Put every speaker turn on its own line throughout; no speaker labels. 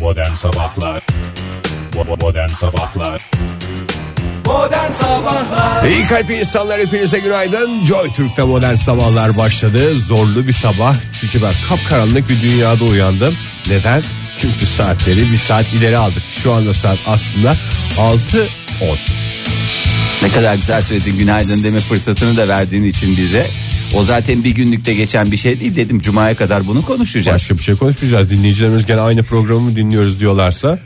Modern Sabahlar Bo- Modern Sabahlar
İyi kalpli insanlar hepinize günaydın. Joy Türk'te modern sabahlar başladı. Zorlu bir sabah. Çünkü ben kapkaranlık bir dünyada uyandım. Neden? Çünkü saatleri bir saat ileri aldık. Şu anda saat aslında 6.10.
Ne kadar güzel söyledin günaydın deme fırsatını da verdiğin için bize. O zaten bir günlükte geçen bir şey değil dedim. Cuma'ya kadar bunu konuşacağız.
Başka bir şey konuşmayacağız. Dinleyicilerimiz gene aynı programı dinliyoruz diyorlarsa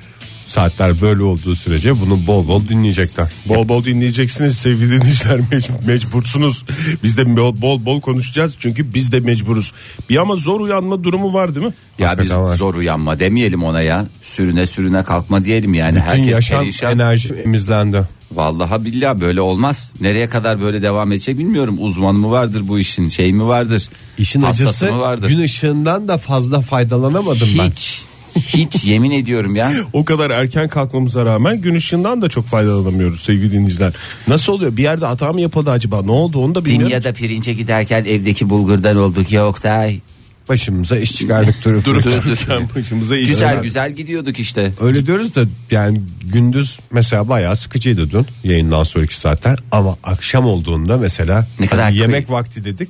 saatler böyle olduğu sürece bunu bol bol dinleyecekler.
Bol bol dinleyeceksiniz sevgili dinleyiciler mec- mecbursunuz. Biz de bol, bol bol konuşacağız çünkü biz de mecburuz. Bir ama zor uyanma durumu var değil mi?
Ya biz
Hakikaten var.
zor uyanma demeyelim ona ya. Sürüne sürüne kalkma diyelim yani.
Bütün
Herkes
yaşam
perişan.
enerji temizlendi.
Vallahi billahi böyle olmaz. Nereye kadar böyle devam edecek bilmiyorum. Uzman mı vardır bu işin? Şey mi vardır?
İşin
Hastası
acısı
mı vardır?
gün ışığından da fazla faydalanamadım ben.
Hiç. Hiç yemin ediyorum ya.
O kadar erken kalkmamıza rağmen gün ışığından da çok faydalanamıyoruz sevgili dinleyiciler. Nasıl oluyor? Bir yerde hata mı yapıldı acaba? Ne oldu onu da bilmiyorum.
Dünyada pirince giderken evdeki bulgurdan olduk ya Oktay.
Başımıza iş çıkardık durup
Durup
dururken.
dururken
başımıza iş
Güzel
çıkardık.
güzel gidiyorduk işte.
Öyle diyoruz da yani gündüz mesela bayağı sıkıcıydı dün yayından sonraki saatler ama akşam olduğunda mesela
Ne kadar
hani yemek vakti dedik.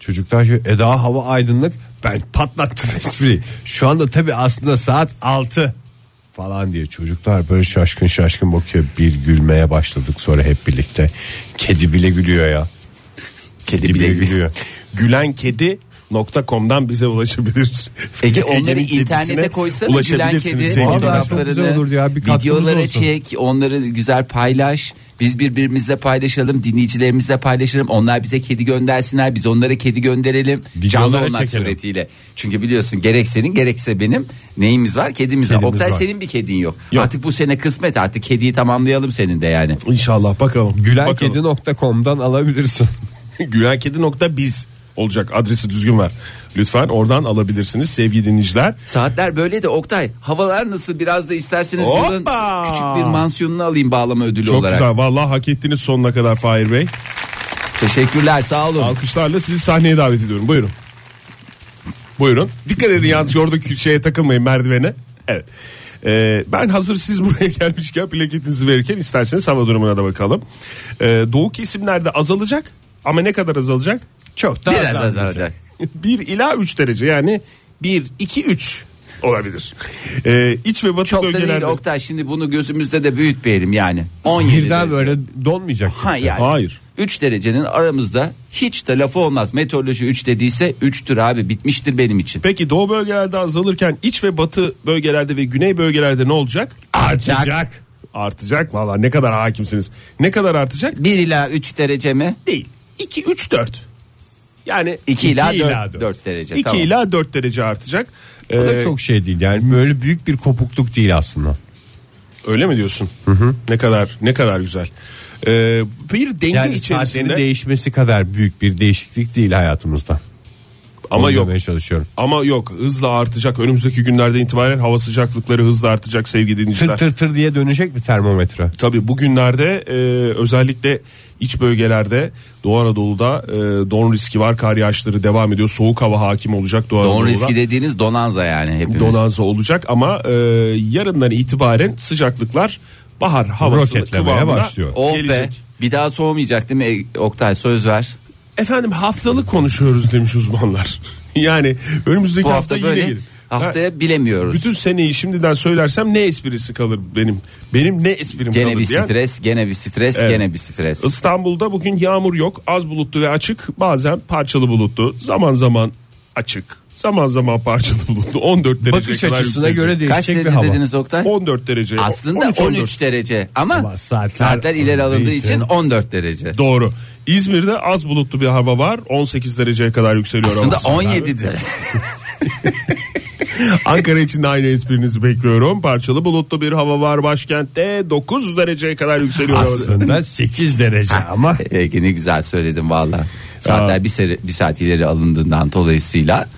Çocuklar diyor, e daha hava aydınlık ben patlattım espriyi. Şu anda tabi aslında saat 6 falan diye çocuklar böyle şaşkın şaşkın bakıyor. Bir gülmeye başladık sonra hep birlikte. Kedi bile gülüyor ya.
Kedi
Kedi
bile
bile gülüyor.
Gülen kedi nokta.com'dan bize ulaşabilir.
Ege
Ege'nin
onları
kedisine
internete koysana gülen
ulaşabilirsiniz
kedi
sevgili
Vallahi
dinleyiciler.
çok güzel
fotoğraflarını
olurdu ya, bir katkımız
videoları
olsun.
çek onları güzel paylaş biz birbirimizle paylaşalım dinleyicilerimizle paylaşalım onlar bize kedi göndersinler biz onlara kedi gönderelim canlı
Videoları
olmak
çekelim.
suretiyle çünkü biliyorsun gerek senin gerekse benim neyimiz var kedimiz var
Kedimiz
Oktay
var.
senin bir kedin yok.
Yok.
artık bu sene kısmet artık kediyi tamamlayalım senin de yani
İnşallah bakalım. Bakalım.
Gülenkedi.com'dan alabilirsin.
Gülenkedi.biz olacak adresi düzgün ver. Lütfen oradan alabilirsiniz sevgili dinleyiciler.
saatler böyle de Oktay havalar nasıl biraz da isterseniz yılın
Hoppa!
küçük bir mansiyonunu alayım bağlama ödülü
Çok
olarak
güzel vallahi hak ettiniz sonuna kadar Fahir Bey.
teşekkürler sağ olun
Alkışlarla sizi sahneye davet ediyorum. Buyurun. Buyurun. Dikkat edin yalnız oradaki şeye takılmayın merdivene. Evet. Ee, ben hazır siz buraya gelmişken plaketinizi verirken isterseniz hava durumuna da bakalım. Ee, doğu kesimlerde azalacak ama ne kadar azalacak?
Çok da
biraz
azaldı.
azalacak
1 ila 3 derece yani 1, 2, 3 olabilir. Ee, iç ve batı
Çok da
bölgelerde...
değil Oktay şimdi bunu gözümüzde de büyütmeyelim yani. 17
Birden
derece.
böyle donmayacak.
Ha yani.
Hayır.
3 derecenin aramızda hiç de lafı olmaz. Meteoroloji 3 dediyse 3'tür abi bitmiştir benim için.
Peki doğu bölgelerde azalırken iç ve batı bölgelerde ve güney bölgelerde ne olacak?
Artacak.
Artacak valla ne kadar hakimsiniz. Ne kadar artacak?
1 ila 3 derece mi?
Değil. 2, 3, 4. Yani
İki ila
iki
dört- dört derece,
2
tamam.
ila 4 derece artacak.
Bu da
Ee,
çok şey değil yani böyle büyük bir kopukluk değil aslında.
Öyle mi diyorsun? Ne kadar ne kadar güzel. Ee, bir denge
Yani saatlerin
içerisinde
değişmesi kadar büyük bir değişiklik değil hayatımızda.
ama
Onu
yok
demeye çalışıyorum.
Ama yok hızla artacak önümüzdeki günlerden itibaren hava sıcaklıkları hızla artacak sevgili
Tır
dinleyiciler.
tır tır diye dönecek mi termometre?
Tabii bugünlerde e, özellikle iç bölgelerde Doğu Anadolu'da e, don riski var kar yağışları devam ediyor soğuk hava hakim olacak Doğu
Don
Anadolu'da.
riski dediğiniz donanza yani hepimiz.
Donanza olacak ama e, yarından itibaren sıcaklıklar bahar havasının
Roketlemeye
kıvamına
başlıyor.
Oh be
gelecek.
bir daha soğumayacak değil mi E, Oktay söz ver.
Efendim haftalık konuşuyoruz demiş uzmanlar. yani önümüzdeki
Bu
hafta,
hafta
yine
böyle
gelir.
haftaya
Ha,
bilemiyoruz.
bütün seneyi şimdiden söylersem ne esprisi kalır benim? Benim ne esprim
gene
kalır
bir
diyen-
stres, gene bir stres,
Evet.
gene bir stres.
İstanbul'da bugün yağmur yok. Az bulutlu ve açık. Bazen parçalı bulutlu. Zaman zaman açık. Zaman zaman parçalı bulutlu. 14 derece
Bakış
kadar
açısına
yükselecek.
göre değişecek
Kaç
bir
derece
hava.
dediniz Oktay?
14 derece.
Aslında 13,
13-14.
derece ama,
Ama saatler-
saatler, ileri alındığı için 14 derece.
Doğru. İzmir'de az bulutlu bir hava var. 18 dereceye kadar yükseliyor.
Aslında
hava.
17 derece.
Ankara için de aynı esprinizi bekliyorum. Parçalı bulutlu bir hava var başkentte. 9 dereceye kadar yükseliyor. hava.
Aslında 8 derece ama
Ee, Ege ne güzel söyledim valla. Saatler bir, seri- bir saat ileri alındığından dolayısıyla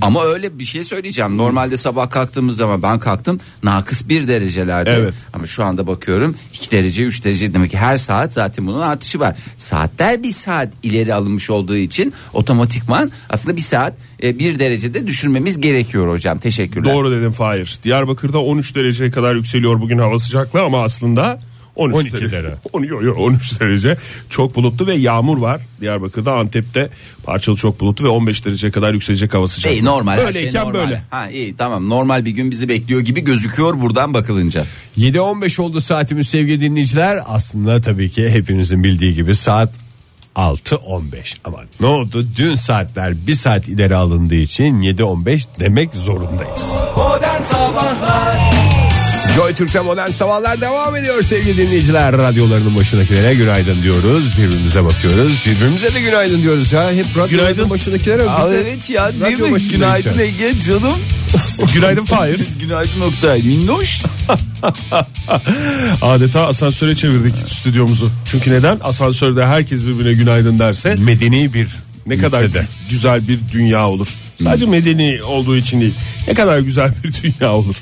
Ama öyle bir şey söyleyeceğim. Normalde sabah kalktığımız zaman ben kalktım nakıs bir derecelerde.
Evet.
Ama şu anda bakıyorum 2 derece 3 derece demek ki her saat zaten bunun artışı var. Saatler bir saat ileri alınmış olduğu için otomatikman aslında bir saat e, bir derecede düşürmemiz gerekiyor hocam. Teşekkürler.
Doğru dedim Fahir. Diyarbakır'da 13 dereceye kadar yükseliyor bugün hava sıcaklığı ama aslında 13
12
derece.
derece.
10, yo, yo, 13 derece. Çok bulutlu ve yağmur var. Diyarbakır'da Antep'te parçalı çok bulutlu ve 15 dereceye kadar yükselecek hava sıcaklığı.
İyi normal her şey
Böyleyken
normal.
böyle.
Ha iyi tamam normal bir gün bizi bekliyor gibi gözüküyor buradan bakılınca.
7.15 oldu saatimiz sevgili dinleyiciler. Aslında tabii ki hepinizin bildiği gibi saat 6.15. Ama ne oldu? Dün saatler bir saat ileri alındığı için 7.15 demek zorundayız. Joy Türk'te modern sabahlar devam ediyor sevgili dinleyiciler. Radyolarının başındakilere günaydın diyoruz. Birbirimize bakıyoruz. Birbirimize de günaydın diyoruz ya. Hep radyoların
Günaydın.
başındakilere.
Aa,
biz de
evet ya değil
radyo
mi?
başındayız
Günaydın
ya.
Ege canım.
Günaydın Fahir.
Günaydın Oktay. Minnoş.
Adeta asansöre çevirdik stüdyomuzu. Çünkü neden? Asansörde herkes birbirine günaydın derse
Medeni bir
ne kadar
ülkede.
güzel bir dünya olur. Sadece medeni olduğu için değil. Ne kadar güzel bir dünya olur.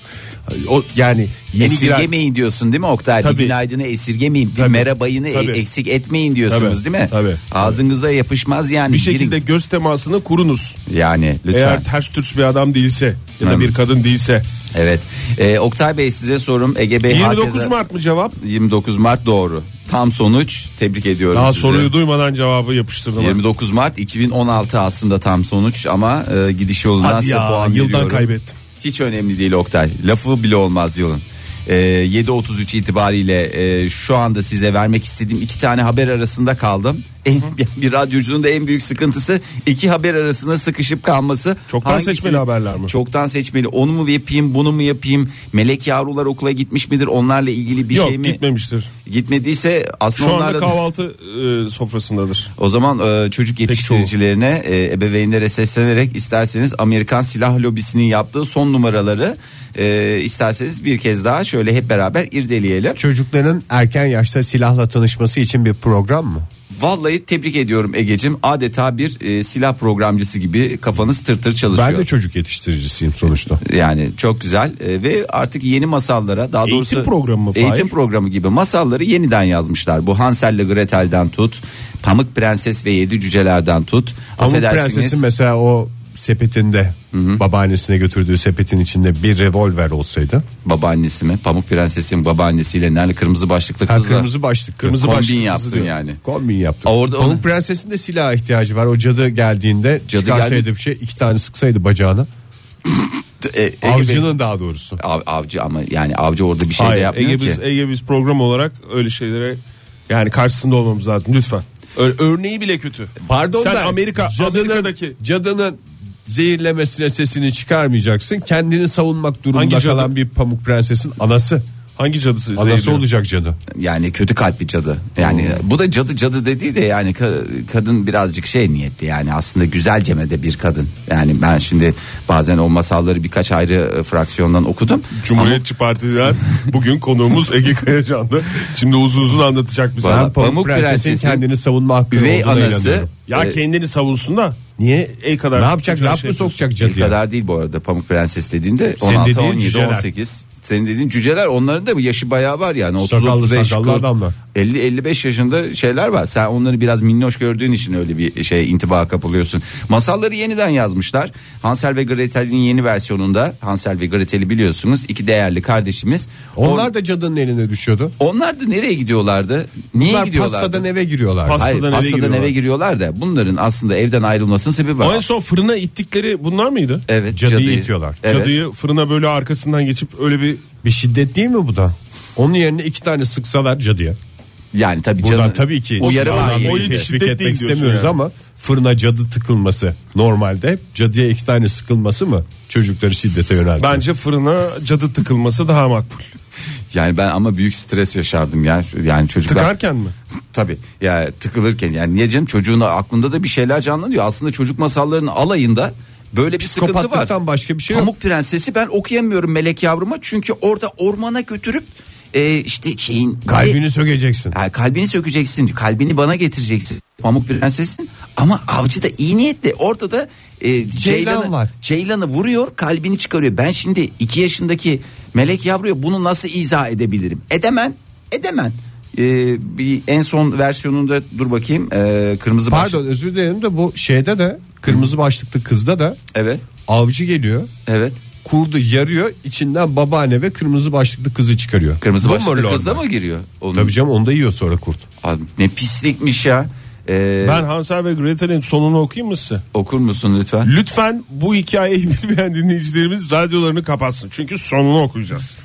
O yani yeni giren-
Esirgemeyin diyorsun değil mi Oktay?
Tabii.
Bir günaydını esirgemeyin. Bir merabayını e-
Tabii.
eksik etmeyin diyorsunuz
Tabii.
değil mi?
Tabii.
Ağzınıza yapışmaz yani.
bir şekilde göz temasını kurunuz.
Yani lütfen. E,
Eğer ters türs bir adam değilse ya da
Evet.
bir kadın değilse.
Evet. Ee, Oktay Bey size sorum. Ege Bey
29
herkese-
Mart mı cevap?
29 Mart doğru. Tam sonuç. Tebrik ediyorum
Daha
sizi.
soruyu duymadan cevabı yapıştırdım.
29 Mart 2016 aslında tam sonuç ama e, gidiş yolundan
Hadi
size
ya,
puan
yıldan
veriyorum.
kaybettim.
Hiç önemli değil Oktay. Lafı bile olmaz yılın. E, 7.33 itibariyle e, şu anda size vermek istediğim iki tane haber arasında kaldım. En, bir radyocunun da en büyük sıkıntısı iki haber arasında sıkışıp kalması.
Çoktan seçmeli haberler mi?
Çoktan seçmeli. Onu mu yapayım bunu mu yapayım? Melek yavrular okula gitmiş midir? Onlarla ilgili bir
Yok
şey mi?
gitmemiştir.
Gitmediyse aslında
Şu
onlarla...
anda kahvaltı e, sofrasındadır.
O zaman e, çocuk yetiştiricilerine, e, ebeveynlere seslenerek isterseniz Amerikan silah lobisinin yaptığı son numaraları e, isterseniz bir kez daha şöyle hep beraber irdeleyelim.
Çocukların erken yaşta silahla tanışması için bir program mı?
Vallahi tebrik ediyorum Egecim. Adeta bir e, silah programcısı gibi kafanız tır tır çalışıyor.
Ben de çocuk yetiştiricisiyim sonuçta.
Yani çok güzel e, ve artık yeni masallara daha
Eğitim
doğrusu
programı mı,
eğitim
Fahir?
programı gibi masalları yeniden yazmışlar. Bu Hansel ile Gretel'den tut, Pamuk Prenses ve Yedi Cüceler'den tut.
Pamuk
Affedersiniz.
Prenses'in mesela o sepetinde babaannesine götürdüğü sepetin içinde bir revolver olsaydı.
babaannesi mi? Pamuk Prensesin babaannesiyle nerede kırmızı başlıklı
Ha,
kızla
kırmızı başlık.
Kırmızı
kombin
başlıklı kızı
yaptın
diyor.
yani.
Kombin yaptı.
Aa, orada
Pamuk
onu-
Prenses'in de silaha ihtiyacı var. O cadı geldiğinde
Cadı
çıkarsaydı
geldi-
bir şey iki tane sıksaydı bacağına.
E, Ege Bey-
Avcının daha doğrusu.
Av- avcı ama yani avcı orada bir şey de
Hayır
yapmıyor
Ege
ki.
biz, Ege biz program olarak öyle şeylere yani karşısında olmamız lazım lütfen. Ö- örneği bile kötü.
Pardon
Sen
da
Amerika,
cadının,
Amerika'daki
cadının zehirlemesine sesini çıkarmayacaksın. Kendini savunmak durumunda
Hangi cadı?
kalan bir Pamuk Prenses'in anası.
hangi cadısı?
Anası
izleyebilirim?
olacak cadı.
Yani kötü kalpli cadı. Yani
Hmm.
bu da cadı cadı dediği de yani ka- kadın birazcık şey niyetli yani aslında güzelceme de bir kadın. Yani ben şimdi bazen o masalları birkaç ayrı e, fraksiyondan okudum.
Cumhuriyetçi Partiler bugün konuğumuz Ege Kayacan'dı. Şimdi uzun uzun anlatacak bize.
Bana-
Ben Pamuk,
Pamuk
Prenses'in Ee,
Prenses'in
kendini savunma hakkı
Üvey
olduğuna
anası
inanıyorum.
Ya
e,
kendini savunsun da niye el kadar
Ne yapacak?
güzel
Laf
şey
mı
yapıyorsun?
sokacak
Bir
cadıya?
kadar değil bu arada Pamuk Prenses dediğinde
Senin
16,
dediğin
17,
cüceler.
18. Senin dediğin cüceler onların da bu yaşı bayağı var yani. 30,
Sakallı
35,
sakallı
40,
adamlar.
50, 55 yaşında şeyler var. Sen onları biraz minnoş gördüğün için öyle bir şey intiba kapılıyorsun. Masalları yeniden yazmışlar. Hansel ve Gretel'in yeni versiyonunda Hansel ve Gretel'i biliyorsunuz iki değerli kardeşimiz.
Onlar
On-
da cadının eline düşüyordu.
onlar da nereye gidiyorlardı? Niye
Bunlar
gidiyorlardı?
pastadan eve giriyorlar.
Pasta-
Hayır,
Pastadan eve
pastadan
giriyorlar.
eve giriyorlar da bunların aslında evden ayrılmasının sebebi
O en
var.
son fırına ittikleri bunlar mıydı?
Evet,
Cadıyı itiyorlar.
Evet.
Cadıyı fırına böyle arkasından geçip öyle bir
Bir şiddet değil mi bu da? Onun yerine iki tane sıksalar cadıya.
Yani tabii
Buradan
canı-
tabii ki
o yarı
silahlanmayı
var. O hiç
teşvik
şiddet
etmek
değil diyorsun
istemiyoruz
yani.
ama fırına cadı tıkılması normalde hep cadıya iki tane sıkılması mı çocukları şiddete yöneltiyor?
bence fırına cadı tıkılması daha makbul.
Yani ben ama büyük stres yaşardım ya. Yani çocuklar
Tıkarken mi?
tabii ya tıkılırken yani niye canım çocuğun aklında da bir şeyler canlanıyor. Aslında çocuk masallarının alayında böyle bir sıkıntı var.
Psikopatlıktan başka bir şey yok.
Pamuk Prensesi ben okuyamıyorum Melek Yavruma çünkü orada ormana götürüp e, işte şeyin
Kalbini sökeceksin.
Ha, kalbini sökeceksin. Kalbini bana getireceksin. Pamuk prensesin. Ama avcı da iyi niyetli. Orada da e, Ceylan'ı,
var.
Ceylan'ı vuruyor kalbini çıkarıyor. Ben şimdi 2 yaşındaki melek yavruya bunu nasıl izah edebilirim? Edemen. Edemen. E, bir en son versiyonunda dur bakayım. e, kırmızı baş-
Pardon özür dilerim de bu şeyde de kırmızı başlıklı kızda da
Evet.
avcı geliyor.
Evet.
Kurdu yarıyor içinden babaanne ve kırmızı başlıklı kızı çıkarıyor.
Kırmızı
Bu mu
başlıklı
normal?
kız da mı giriyor? Onun?
Tabii canım onu da yiyor sonra kurt.
Abi, ne pislikmiş ya. E,
Ben Hansel ve Gretel'in sonunu okuyayım mı size?
Okur musun lütfen?
Lütfen bu hikayeyi bilmeyen dinleyicilerimiz radyolarını kapatsın. Çünkü sonunu okuyacağız.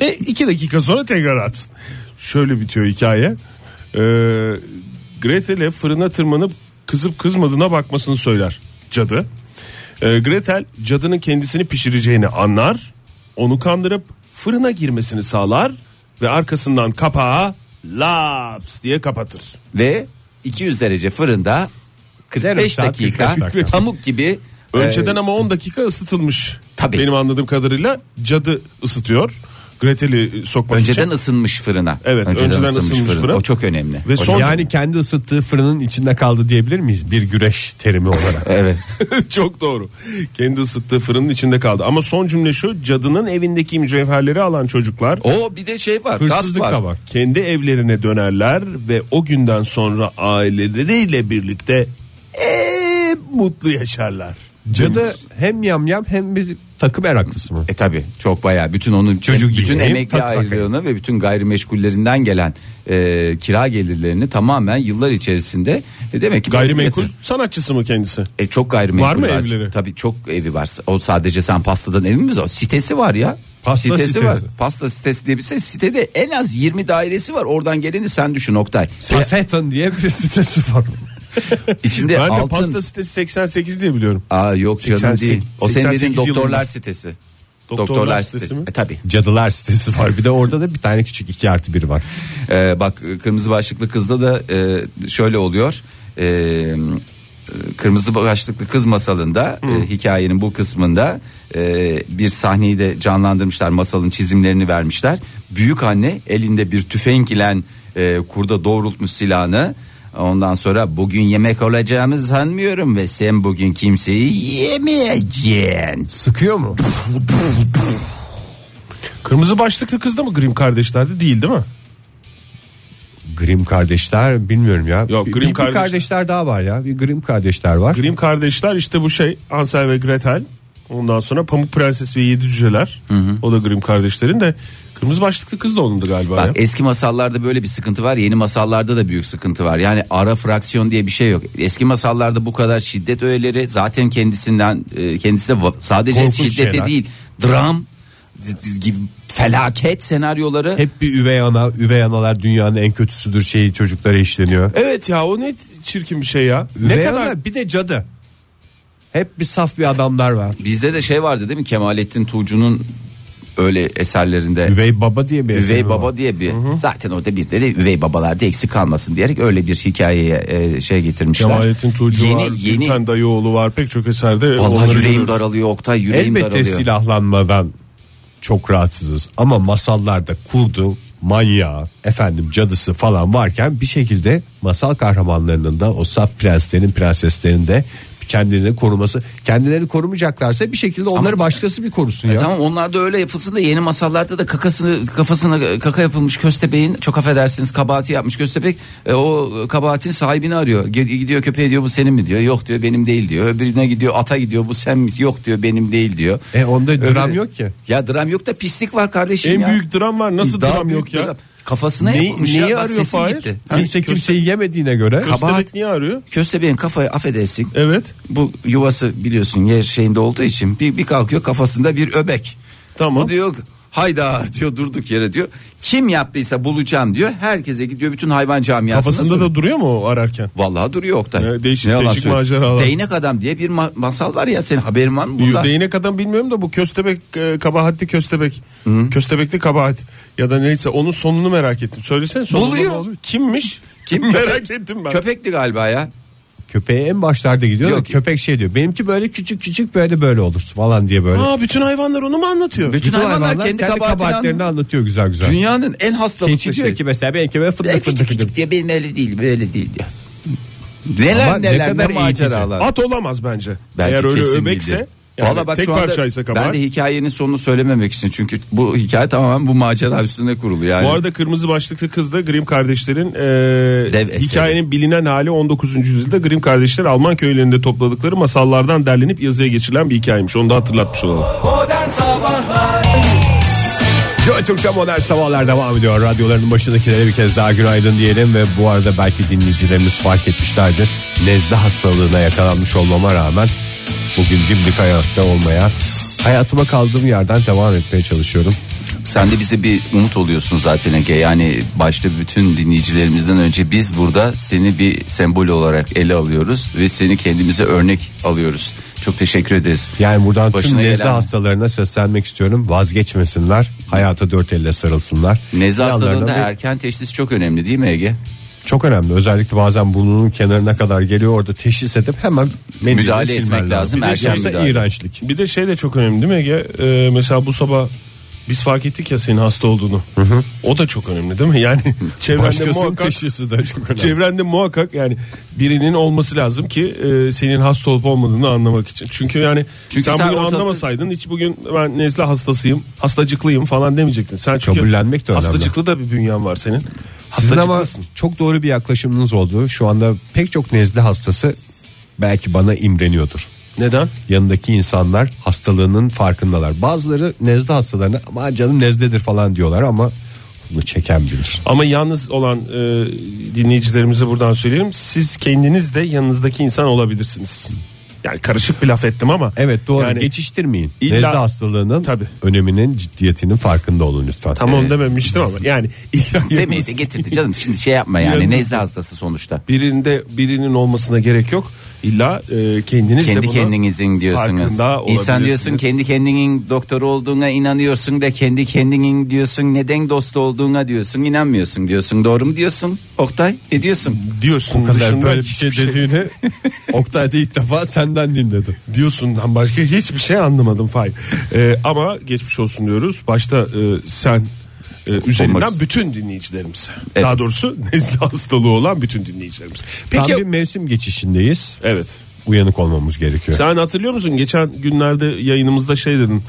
Ve iki dakika sonra tekrar atsın. Şöyle bitiyor hikaye. Ee, Gretel'e fırına tırmanıp kızıp kızmadığına bakmasını söyler cadı. Ee, Gretel cadının kendisini pişireceğini anlar. Onu kandırıp fırına girmesini sağlar. Ve arkasından kapağı laps diye kapatır.
Ve 200 derece fırında 45
saat,
dakika
45 dakika.
pamuk gibi
Önceden
e,
ama 10 dakika ısıtılmış.
Tabii.
Benim anladığım kadarıyla cadı ısıtıyor. Gretel'i sokmak
Önceden
için.
ısınmış fırına.
Evet, önceden ısınmış fırın.
O çok önemli.
Ve son
Yani kendi ısıttığı fırının içinde kaldı diyebilir miyiz bir güreş terimi olarak?
Evet.
çok doğru. Kendi ısıttığı fırının içinde kaldı. Ama son cümle şu cadının evindeki mücevherleri alan çocuklar
O bir de şey var.
Hırsızlık
Hırsızlık var.
da var.
kendi evlerine dönerler ve o günden sonra aileleriyle birlikte eee, mutlu yaşarlar.
Cadı hem yamyam hem bir takım meraklısı mı?
E tabi çok bayağı bütün onun çocuk
gibi.
bütün
Hem
emekli
tak tak.
aylığını ve bütün gayrimeşgullerinden gelen e, kira gelirlerini tamamen yıllar içerisinde e, demek ki
Gayrimenkul
Yatır-
sanatçısı mı kendisi?
E, çok gayrimenkul
Var mı evleri?
Tabii çok evi var. O sadece sen pastadan evimiz o. Sitesi var ya.
Pasta
sitesi,
sitesi.
var. Pasta sitesi diye bir şey. Sitede en az 20 dairesi var. Oradan geleni sen düşün Oktay.
Pasetan diye bir sitesi var.
İçinde
ben de
altın.
pasta sitesi 88 diye biliyorum.
Aa yok canım
88
değil. O senin dediğin
88
doktorlar
yılında.
sitesi.
Doktorlar
Doktorlar,
sitesi
sitesi.
mi?
E, tabii.
Cadılar sitesi var. Bir de orada da bir tane küçük 2 artı 1 var.
Ee, bak kırmızı başlıklı kızda da e, şöyle oluyor. Ee, e, kırmızı başlıklı kız masalında e, hikayenin bu kısmında e, bir sahneyi de canlandırmışlar. Masalın çizimlerini vermişler. Büyük anne elinde bir tüfek ile e, kurda doğrultmuş silahını. Ondan sonra bugün yemek olacağımı sanmıyorum ve sen bugün kimseyi yemeyeceksin.
Sıkıyor mu?
Kırmızı başlıklı kız da mı Grimm kardeşlerde değil değil mi?
Grimm kardeşler bilmiyorum ya.
Yok,
Bir-
Grimm
bir, bir
kardeş-
kardeşler daha var ya. Bir Grimm kardeşler var.
Grimm kardeşler işte bu şey Hansel ve Gretel. Ondan sonra Pamuk Prenses ve Yedi Cüceler. O da Grimm kardeşlerin de kırmızı başlıklı kız da onundu galiba.
Bak
ya.
eski masallarda böyle bir sıkıntı var. Yeni masallarda da büyük sıkıntı var. Yani ara fraksiyon diye bir şey yok. Eski masallarda bu kadar şiddet öğeleri zaten kendisinden e, kendisi de va- sadece
Korkunç
şiddete
şeyler.
değil. Dram d- d- gibi felaket senaryoları
Hep bir üvey ana, üvey analar dünyanın en kötüsüdür şeyi çocuklara işleniyor.
e-
Evet ya o ne çirkin bir şey ya.
Üvey
ne kadar
ana, bir de cadı. Hep bir saf bir adamlar var.
bizde de şey vardı değil mi? Kemalettin Tuğcu'nun öyle eserlerinde
Üvey baba diye bir
Üvey
eseri var.
baba diye bir zaten orada bir de, de üvey babalarda eksik kalmasın diyerek öyle bir hikayeye e, şey getirmişler.
Kemalettin Tuğcu
yeni,
var,
Yeni
Gülten Dayıoğlu var pek çok eserde.
Vallahi
onları
yüreğim
görüyoruz.
daralıyor Oktay yüreğim
Elbette
daralıyor.
silahlanmadan çok rahatsızız ama masallarda kurdu, manyağı, efendim cadısı falan varken bir şekilde masal kahramanlarının da o saf prenslerin prenseslerin de kendilerini koruması kendilerini korumayacaklarsa bir şekilde onları başkası bir korusun ya.
E Tamam onlar da öyle yapılsın da yeni masallarda da kakasını kafasına kaka yapılmış köstebeğin çok affedersiniz kabahati yapmış köstebek e, o kabahatin sahibini arıyor. Ge- Gidiyor köpeğe diyor bu senin mi diyor. Yok diyor benim değil diyor. Öbürüne gidiyor ata gidiyor bu sen mi? Yok diyor benim değil diyor.
E onda
Öbürü-
dram yok ki.
Ya dram yok da pislik var kardeşim
En
ya.
büyük dram var nasıl
Daha
dram
büyük
yok ya.
dram. Kafasına
Neyi-
yapılmış
neyi
ya. Bak
arıyor
sesim
Fahir?
gitti. Ha?
Kimse kimseyi yemediğine göre
Kabahat.
Köstebek niye arıyor?
Köstebeğin kafayı affedersin.
Evet
Bu yuvası biliyorsun yer şeyinde olduğu için bir, bir kalkıyor kafasında bir öbek.
tamam.
O diyor hayda diyor durduk yere diyor. Kim yaptıysa bulacağım diyor. Herkese gidiyor bütün hayvan camiasına.
Kafasında
soruyor.
da duruyor mu o ararken?
Vallahi duruyor Oktay.
Evet, değişik-
yalan
değişik
söyleyeyim.
maceralar.
Değnek adam diye bir ma- masal var ya senin haberin var mı bundan?
Değnek adam bilmiyorum da bu köstebek e, kabahatli köstebek. Köstebekli kabahat ya da neyse onun sonunu merak ettim. Söylesene sonunu
Buluyor.
ne oluyor? Kimmiş?
Kim?
merak ettim ben.
Köpekti galiba ya.
Köpeğe en başlarda gidiyor.
Yok.
da Köpek şey diyor. Benimki böyle küçük küçük böyle böyle olur falan diye böyle.
Aa bütün hayvanlar onu mu anlatıyor?
Bütün hayvanlar kendi kabahatini
kabahatlerini anlatıyor güzel güzel.
Dünyanın en hastalıklı
Keçi diyor
şey.
ki mesela benimki böyle fındık fındık fındık.
diye benim öyle değil böyle değil diyor. Neler
Ama ne
neler ne,
kadar eğitici.
maceralar.
At olamaz bence.
Bence
Eğer öyle
kesin
öbekse
bildi.
yani
Vallahi bak
tek
şu anda
parçaysa kabahat.
ben de hikayenin sonunu söylememek için çünkü bu hikaye tamamen bu macera üstüne kurulu yani.
Bu arada kırmızı başlıklı kız da Grimm kardeşlerin e,
Dev eseri.
hikayenin bilinen hali 19. yüzyılda Grimm kardeşler Alman köylerinde topladıkları masallardan derlenip yazıya geçirilen bir hikayemiş. Onu da hatırlatmış olalım.
Joy Türk'te modern sabahlar devam ediyor. Radyoların başındakilere bir kez daha günaydın diyelim ve bu arada belki dinleyicilerimiz fark etmişlerdir. Nezle hastalığına yakalanmış olmama rağmen bugün dimdik hayatta olmaya hayatıma kaldığım yerden devam etmeye çalışıyorum.
Sen de bize bir umut oluyorsun zaten Ege. Yani başta bütün dinleyicilerimizden önce biz burada seni bir sembol olarak ele alıyoruz ve seni kendimize örnek alıyoruz. Çok teşekkür ederiz.
Yani buradan
Başına
tüm nezle
gelen-
hastalarına seslenmek istiyorum. Vazgeçmesinler. Hayata dört elle sarılsınlar.
Nezle
Yanlarına
hastalığında
bir-
erken teşhis çok önemli değil mi Ege?
Çok önemli. Özellikle bazen burnunun kenarına kadar geliyor orada teşhis edip hemen mendille
Müdahale
silmen
etmek lazım,
Bir de
erken
yoksa
müdahale.
iğrençlik.
Bir de şey de çok önemli değil mi Ege? Ee, mesela bu sabah biz fark ettik ya senin hasta olduğunu. O da çok önemli değil mi? Yani çevrende
Başkasının
muhakkak
teşhisi de çok önemli.
çevrende muhakkak yani birinin olması lazım ki e, senin hasta olup olmadığını anlamak için. Çünkü yani
Çünkü
sen,
sen
bugün
ortalıkta-
anlamasaydın hiç bugün ben nezle hastasıyım, hastacıklıyım falan demeyecektin. Sen çünkü
E, Kabullenmek de önemli.
Hastacıklı da bir bünyen var senin.
Sizin ama
Hastacıklısın.
çok doğru bir yaklaşımınız oldu. Şu anda pek çok nezle hastası belki bana imreniyordur.
Neden?
Yanındaki insanlar hastalığının farkındalar. Bazıları nezle hastalarına aman canım nezledir falan diyorlar ama bunu çeken bilir.
Ama yalnız olan e, dinleyicilerimize buradan söyleyelim. Siz kendiniz de yanınızdaki insan olabilirsiniz. Yani karışık bir laf ettim ama.
Evet doğru
Yani
geçiştirmeyin.
İlla-
nezle hastalığının
Tabii.
öneminin ciddiyetinin farkında olun lütfen. Ee,
Tamam dememiştim ama yani illa
Demeyse
yalnız
getirdi canım şimdi şey yapma yani
Yalnız-
nezle hastası sonuçta.
birinde birinin olmasına gerek yok. İlla e, kendiniz de
Kendi
bunu
kendinizin diyorsunuz.
farkında
İnsan diyorsun
olabilirsiniz.
kendi kendinin doktoru olduğuna inanıyorsun da kendi kendinin diyorsun neden dost olduğuna diyorsun inanmıyorsun diyorsun. Doğru mu diyorsun Oktay? Ne diyorsun?
diyorsun
Bu kadar
dışında
böyle bir şey
hiçbir
dediğini Oktay'da ilk defa senden dinledim.
diyorsundan başka hiçbir şey anlamadım Fahir. Ee, ama geçmiş olsun diyoruz. Başta e, sen e, üzerinden
Olmak-
bütün dinleyicilerimiz.
Evet.
Daha doğrusu nezle hastalığı olan bütün dinleyicilerimiz. Peki
Tam bir mevsim geçişindeyiz.
evet.
Uyanık olmamız gerekiyor.
Sen hatırlıyor musun geçen günlerde yayınımızda şey dedin.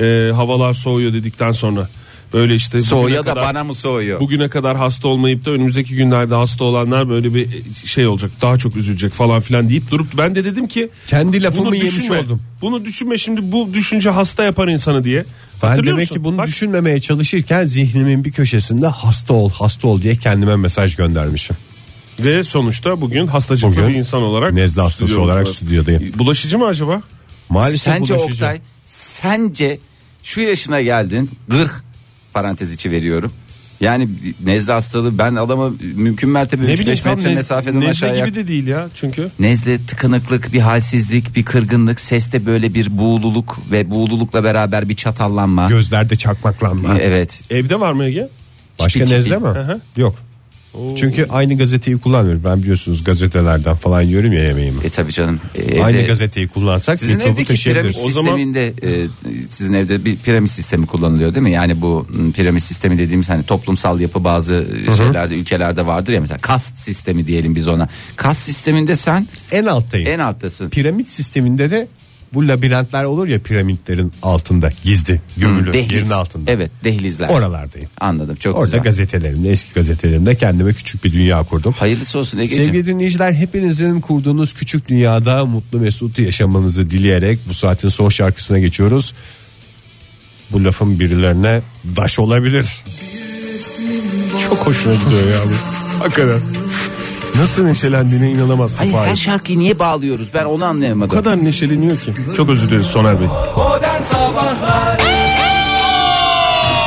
e, havalar soğuyor dedikten sonra böyle işte bugüne
Soğuyor da
kadar-
bana mı soğuyor?
Bugüne kadar hasta olmayıp da önümüzdeki günlerde hasta olanlar böyle bir şey olacak daha çok üzülecek falan filan deyip durup ben de dedim ki
Kendi lafımı
bunu
yemiş
düşünme.
oldum.
Bunu düşünme şimdi bu düşünce hasta yapar insanı diye.
Ben
Hatırlıyor
demek
musun?
ki bunu
Bak,
düşünmemeye çalışırken zihnimin bir köşesinde hasta ol hasta ol diye kendime mesaj göndermişim.
Ve sonuçta bugün hastacıklı
Bugün
bir insan olarak.
nezle hastası
stüdyomuzda.
olarak stüdyodayım.
Bulaşıcı mı acaba?
Maalesef
sence
bulaşıcı.
Oktay sence şu yaşına geldin 40 parantez içi veriyorum. Yani nezle hastalığı ben adama mümkün mertebe 3-5 metre
tam nez-
mesafeden
nezle
aşağıya
gibi de değil ya çünkü.
Nezle, tıkanıklık, bir halsizlik, bir kırgınlık, seste böyle bir buğululuk ve buğululukla beraber bir çatallanma.
Gözlerde çakmaklanma.
evet.
Evde var mı Ege?
Başka
Ciddi
nezle mi?
ciddi.
Aha.
Yok. Çünkü aynı gazeteyi kullanmıyorum. Ben biliyorsunuz gazetelerden falan yiyorum ya yemeğimi.
E tabii canım. E, evde-
Aynı gazeteyi kullansak
Sizin
mikrobu
evdeki piramit
taşıyabiliriz.
O zaman-
sisteminde e, sizin evde bir piramit sistemi kullanılıyor değil mi? Yani bu m, piramit sistemi dediğimiz hani toplumsal yapı bazı e, şeylerde ülkelerde vardır ya mesela kast sistemi diyelim biz ona. Kast sisteminde sen
En alttayım.
en alttasın.
Piramit sisteminde de bu labirentler olur ya piramitlerin altında gizli
Hı,
gömülü yerin altında.
Evet dehlizler.
Oralardayım.
Anladım çok
Orada
güzel.
gazetelerimle eski gazetelerimle kendime küçük bir dünya kurdum.
Hayırlısı olsun Ege'ciğim.
Sevgili dinleyiciler hepinizin kurduğunuz küçük dünyada mutlu mesut yaşamanızı dileyerek bu saatin son şarkısına geçiyoruz. Bu lafın birilerine daş olabilir.
Çok hoşuna gidiyor ya bu. Hakikaten. Nasıl neşelendiğine inanamazsın.
Hayır
Fahir.
her şey- şarkıyı niye bağlıyoruz ben onu anlayamadım.
O kadar neşeleniyor ki. Çok özür dileriz Soner Bey.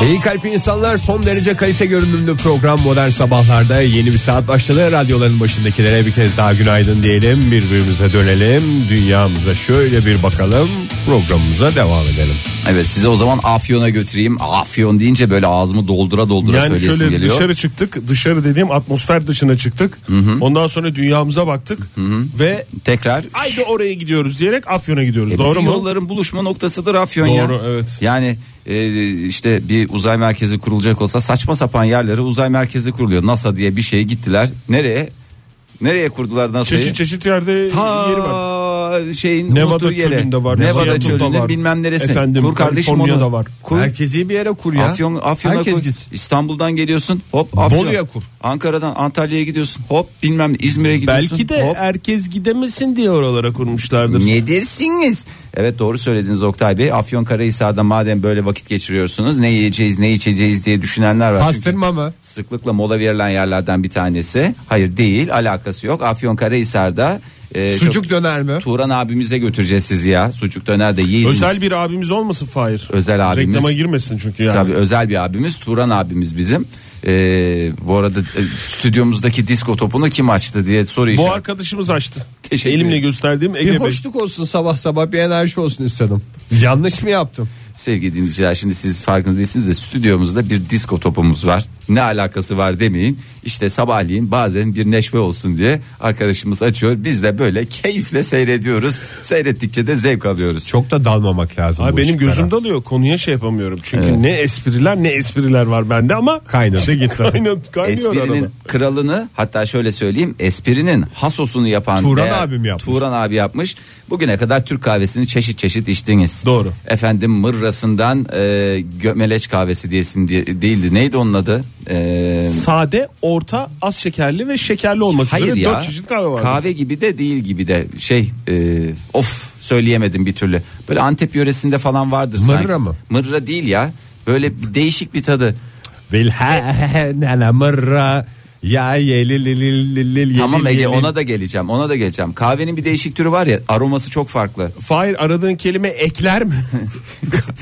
İyi kalpli insanlar son derece kalite görünümlü program Modern Sabahlar'da yeni bir saat başladı. Radyoların başındakilere bir kez daha günaydın diyelim. Birbirimize dönelim. Dünyamıza şöyle bir bakalım. Programımıza devam edelim.
Evet size o zaman Afyon'a götüreyim. Afyon deyince böyle ağzımı doldura doldura
Yani
söyleyesim
şöyle
geliyor.
dışarı çıktık. Dışarı dediğim atmosfer dışına çıktık. Ondan sonra dünyamıza baktık ve
Tekrar.
haydi oraya gidiyoruz diyerek Afyon'a gidiyoruz.
E,
Doğru
bütün
mu?
Yolların buluşma noktasıdır Afyon ya.
Doğru evet.
Yani e, işte bir uzay merkezi kurulacak olsa saçma sapan yerlere uzay merkezi kuruluyor. NASA diye bir şeye gittiler. Nereye? Nereye kurdular NASA'yı?
Çeşit çeşit yerde
Ta
yeri var.
şeyin
Nevada
unuttuğu yere.
çölünde var,
Nevada
Seattle'da
çölünde
var.
bilmem neresi.
Efendim,
kur kardeşim onu.
Kaliforniya'da var.
Kur.
Merkezi bir yere kur ya.
Afyon, Afyon'a
Herkes
kur.
gitsin.
İstanbul'dan geliyorsun hop Afyon.
Bolu'ya kur.
Ankara'dan Antalya'ya gidiyorsun hop bilmem ne, İzmir'e gidiyorsun.
Belki de
hop.
herkes gidemesin diye oralara kurmuşlardır.
Ne dersiniz? Evet doğru söylediniz Oktay Bey. Afyon Karahisar'da madem böyle vakit geçiriyorsunuz ne yiyeceğiz ne içeceğiz diye düşünenler var. Çünkü
Pastırma mı?
sıklıkla mola verilen yerlerden bir tanesi. Hayır değil alakası yok. Afyon Karahisar'da e,
Sucuk
çok-
döner mi?
Turan abimize götüreceğiz sizi ya. Sucuk döner de yiyin.
Özel bir abimiz olmasın Fahir.
Özel abimiz.
Reklama girmesin çünkü yani.
Tabii özel bir abimiz Turan abimiz bizim. Ee, bu arada e, stüdyomuzdaki disko topunu kim açtı diye soru
Bu
işareti.
arkadaşımız açtı.
Teşekkür
Elimle
ederim.
gösterdiğim
Bir
Ege Bey.
hoşluk olsun sabah sabah bir enerji olsun istedim. Yanlış mı yaptım?
Sevgili dinleyiciler şimdi siz farkında değilsiniz de stüdyomuzda bir disko topumuz var. Ne alakası var demeyin. İşte sabahleyin bazen bir neşve olsun diye arkadaşımız açıyor. Biz de böyle keyifle seyrediyoruz. Seyrettikçe de zevk alıyoruz.
Çok da dalmamak lazım.
Abi
bu
benim
ışıklara.
gözüm dalıyor. Konuya şey yapamıyorum. Çünkü ne espriler ne espriler var bende ama
Kaynadı gitti.
Kaynıyor, kaynıyor arada.
Esprinin kralını hatta şöyle söyleyeyim esprinin hasosunu yapan
Turan
değer-
abim yapmış.
Turan abi yapmış. Bugüne kadar Türk kahvesini çeşit çeşit içtiniz.
Doğru.
Efendim mırrasından e, gömeleç kahvesi diyesin diye, değildi. Neydi onun adı? E,
Sade, orta, az şekerli ve şekerli olmak
hayır
üzere
ya.
dört çeşit kahve var.
Kahve gibi de değil gibi de şey e, of söyleyemedim bir türlü. Böyle Antep yöresinde falan vardır
Mırra
sanki.
mı?
Mırra değil ya. Böyle bir değişik bir tadı.
Vilhenela mırra ya yeli li li li li li
Tamam
li
Ege
li.
ona da geleceğim ona da geleceğim. Kahvenin bir değişik türü var ya aroması çok farklı.
Fahir aradığın kelime ekler mi?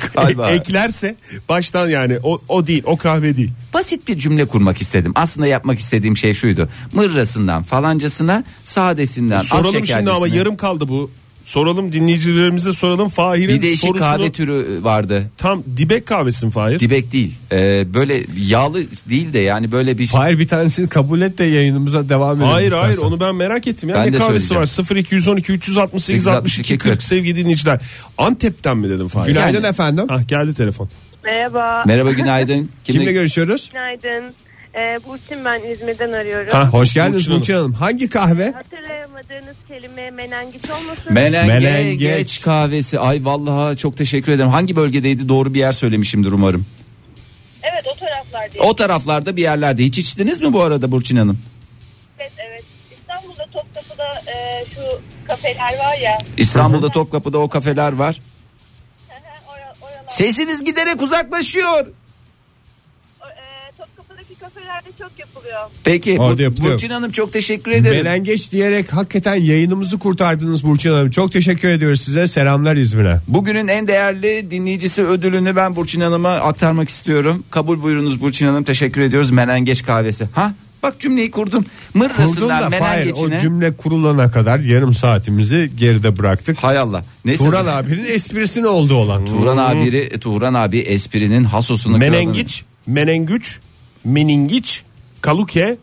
E,
Galiba.
Eklerse baştan yani o, o değil o kahve değil.
Basit bir cümle kurmak istedim. Aslında yapmak istediğim şey şuydu. Mırrasından falancasına sadesinden az
Soralım
şekerlisine.
şimdi ama yarım kaldı bu. Soralım dinleyicilerimize soralım Fahir'in
Bir değişik
sorusunu.
kahve türü vardı.
Tam dibek kahvesin Fahir.
Dibek değil. Ee, böyle yağlı değil de yani böyle bir şey.
Hayır bir tanesini kabul et de yayınımıza devam edelim.
Hayır hayır
istersen.
onu ben merak ettim ya.
Ben
ne
de
kahvesi
söyleyeceğim.
var? 0212 368 62 40 sevgili dinleyiciler. Antep'ten mi dedim Fahir?
Günaydın
Yani-
efendim.
Ah geldi telefon.
Merhaba.
Merhaba günaydın. Kimle-
Kimle görüşüyoruz?
Günaydın. Ee, Burçin ben İzmir'den arıyorum.
Ha.
Hoş geldiniz
Burçin Hanım.
Burçin Hanım. Hangi kahve?
Hatırlayamadığınız kelime menengiç olmasın?
Menengeç
Menengeç.
kahvesi. Ay vallahi çok teşekkür ederim. Hangi bölgedeydi? Doğru bir yer söylemişimdir umarım.
evet o taraflar değil.
O taraflarda bir yerlerde. Hiç içtiniz mi bu arada Burçin Hanım?
Evet evet. İstanbul'da Topkapı'da e, şu kafeler var ya.
İstanbul'da Topkapı'da o kafeler var.
Ora- oralar.
Sesiniz giderek uzaklaşıyor.
O, e, Topkapı'daki kafelerde çok yapılıyor.
Peki
Orada
Bur-
yapılıyor.
Burçin Hanım çok teşekkür ederim.
Melengeç diyerek hakikaten yayınımızı kurtardınız Burçin Hanım. Çok teşekkür ediyoruz size. Selamlar İzmir'e.
Bugünün en değerli dinleyicisi ödülünü ben Burçin Hanım'a aktarmak istiyorum. Kabul buyurunuz Burçin Hanım. Teşekkür ediyoruz. Menengeç kahvesi. Ha? Bak cümleyi kurdum.
Kurdun da
Mırrasından
hayır, o
menengeçine.
cümle kurulana kadar yarım saatimizi geride bıraktık.
Hay Allah. Neyse.
Turan abinin esprisi ne oldu olan?
Turan abi, Turan abi esprinin hasosunu kralını-
Hmm. Menengiç, menengüç, meningiç, kaluke,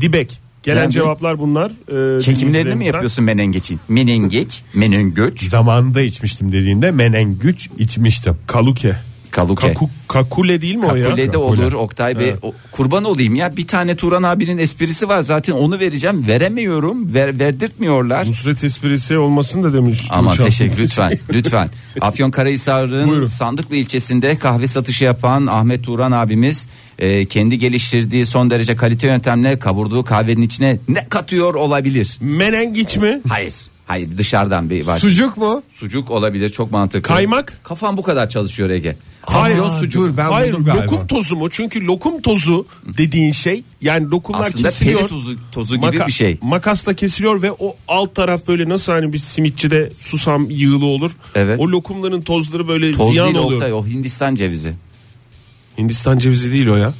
dibek. Gelen
Yani-
cevaplar bunlar. Ee,
Çekimlerini mi
dinleyicilerimizden.
yapıyorsun menengeçin? Menengeç, menengeç,
Zamanında içmiştim dediğinde menengüç içmiştim.
Kaluke.
kaluke.
Kaku, kakule değil mi o ya?
Kakule de olur
Kakule.
Oktay Bey. O- kurban olayım ya bir tane Turan abinin esprisi var zaten onu vereceğim veremiyorum ver, verdirtmiyorlar.
Nusret esprisi olmasın da demiş.
Aman
Tuğçe Hanım.
teşekkür lütfen lütfen. Afyonkarahisar'ın Sandıklı ilçesinde kahve satışı yapan Ahmet Turan abimiz e, kendi geliştirdiği son derece kalite yöntemle kavurduğu kahvenin içine ne katıyor olabilir?
Menengiç mi?
Hayır. Hayır dışarıdan bir var.
Sucuk mu?
Sucuk olabilir çok mantıklı.
Kaymak?
Kafam bu kadar çalışıyor Ege.
Hayır,
Aa, dur, ben
Hayır,
buldum galiba.
lokum tozu mu? Çünkü lokum tozu dediğin şey yani lokumlar
Aslında
kesiliyor.
peri tozu, tozu gibi
Maka-
bir şey.
Makasla kesiliyor ve o alt taraf böyle nasıl hani bir simitçide susam yığılı olur.
Evet.
O lokumların tozları böyle
Toz
ziyan
değil
oluyor.
Oktay o Hindistan cevizi.
Hindistan cevizi değil o ya.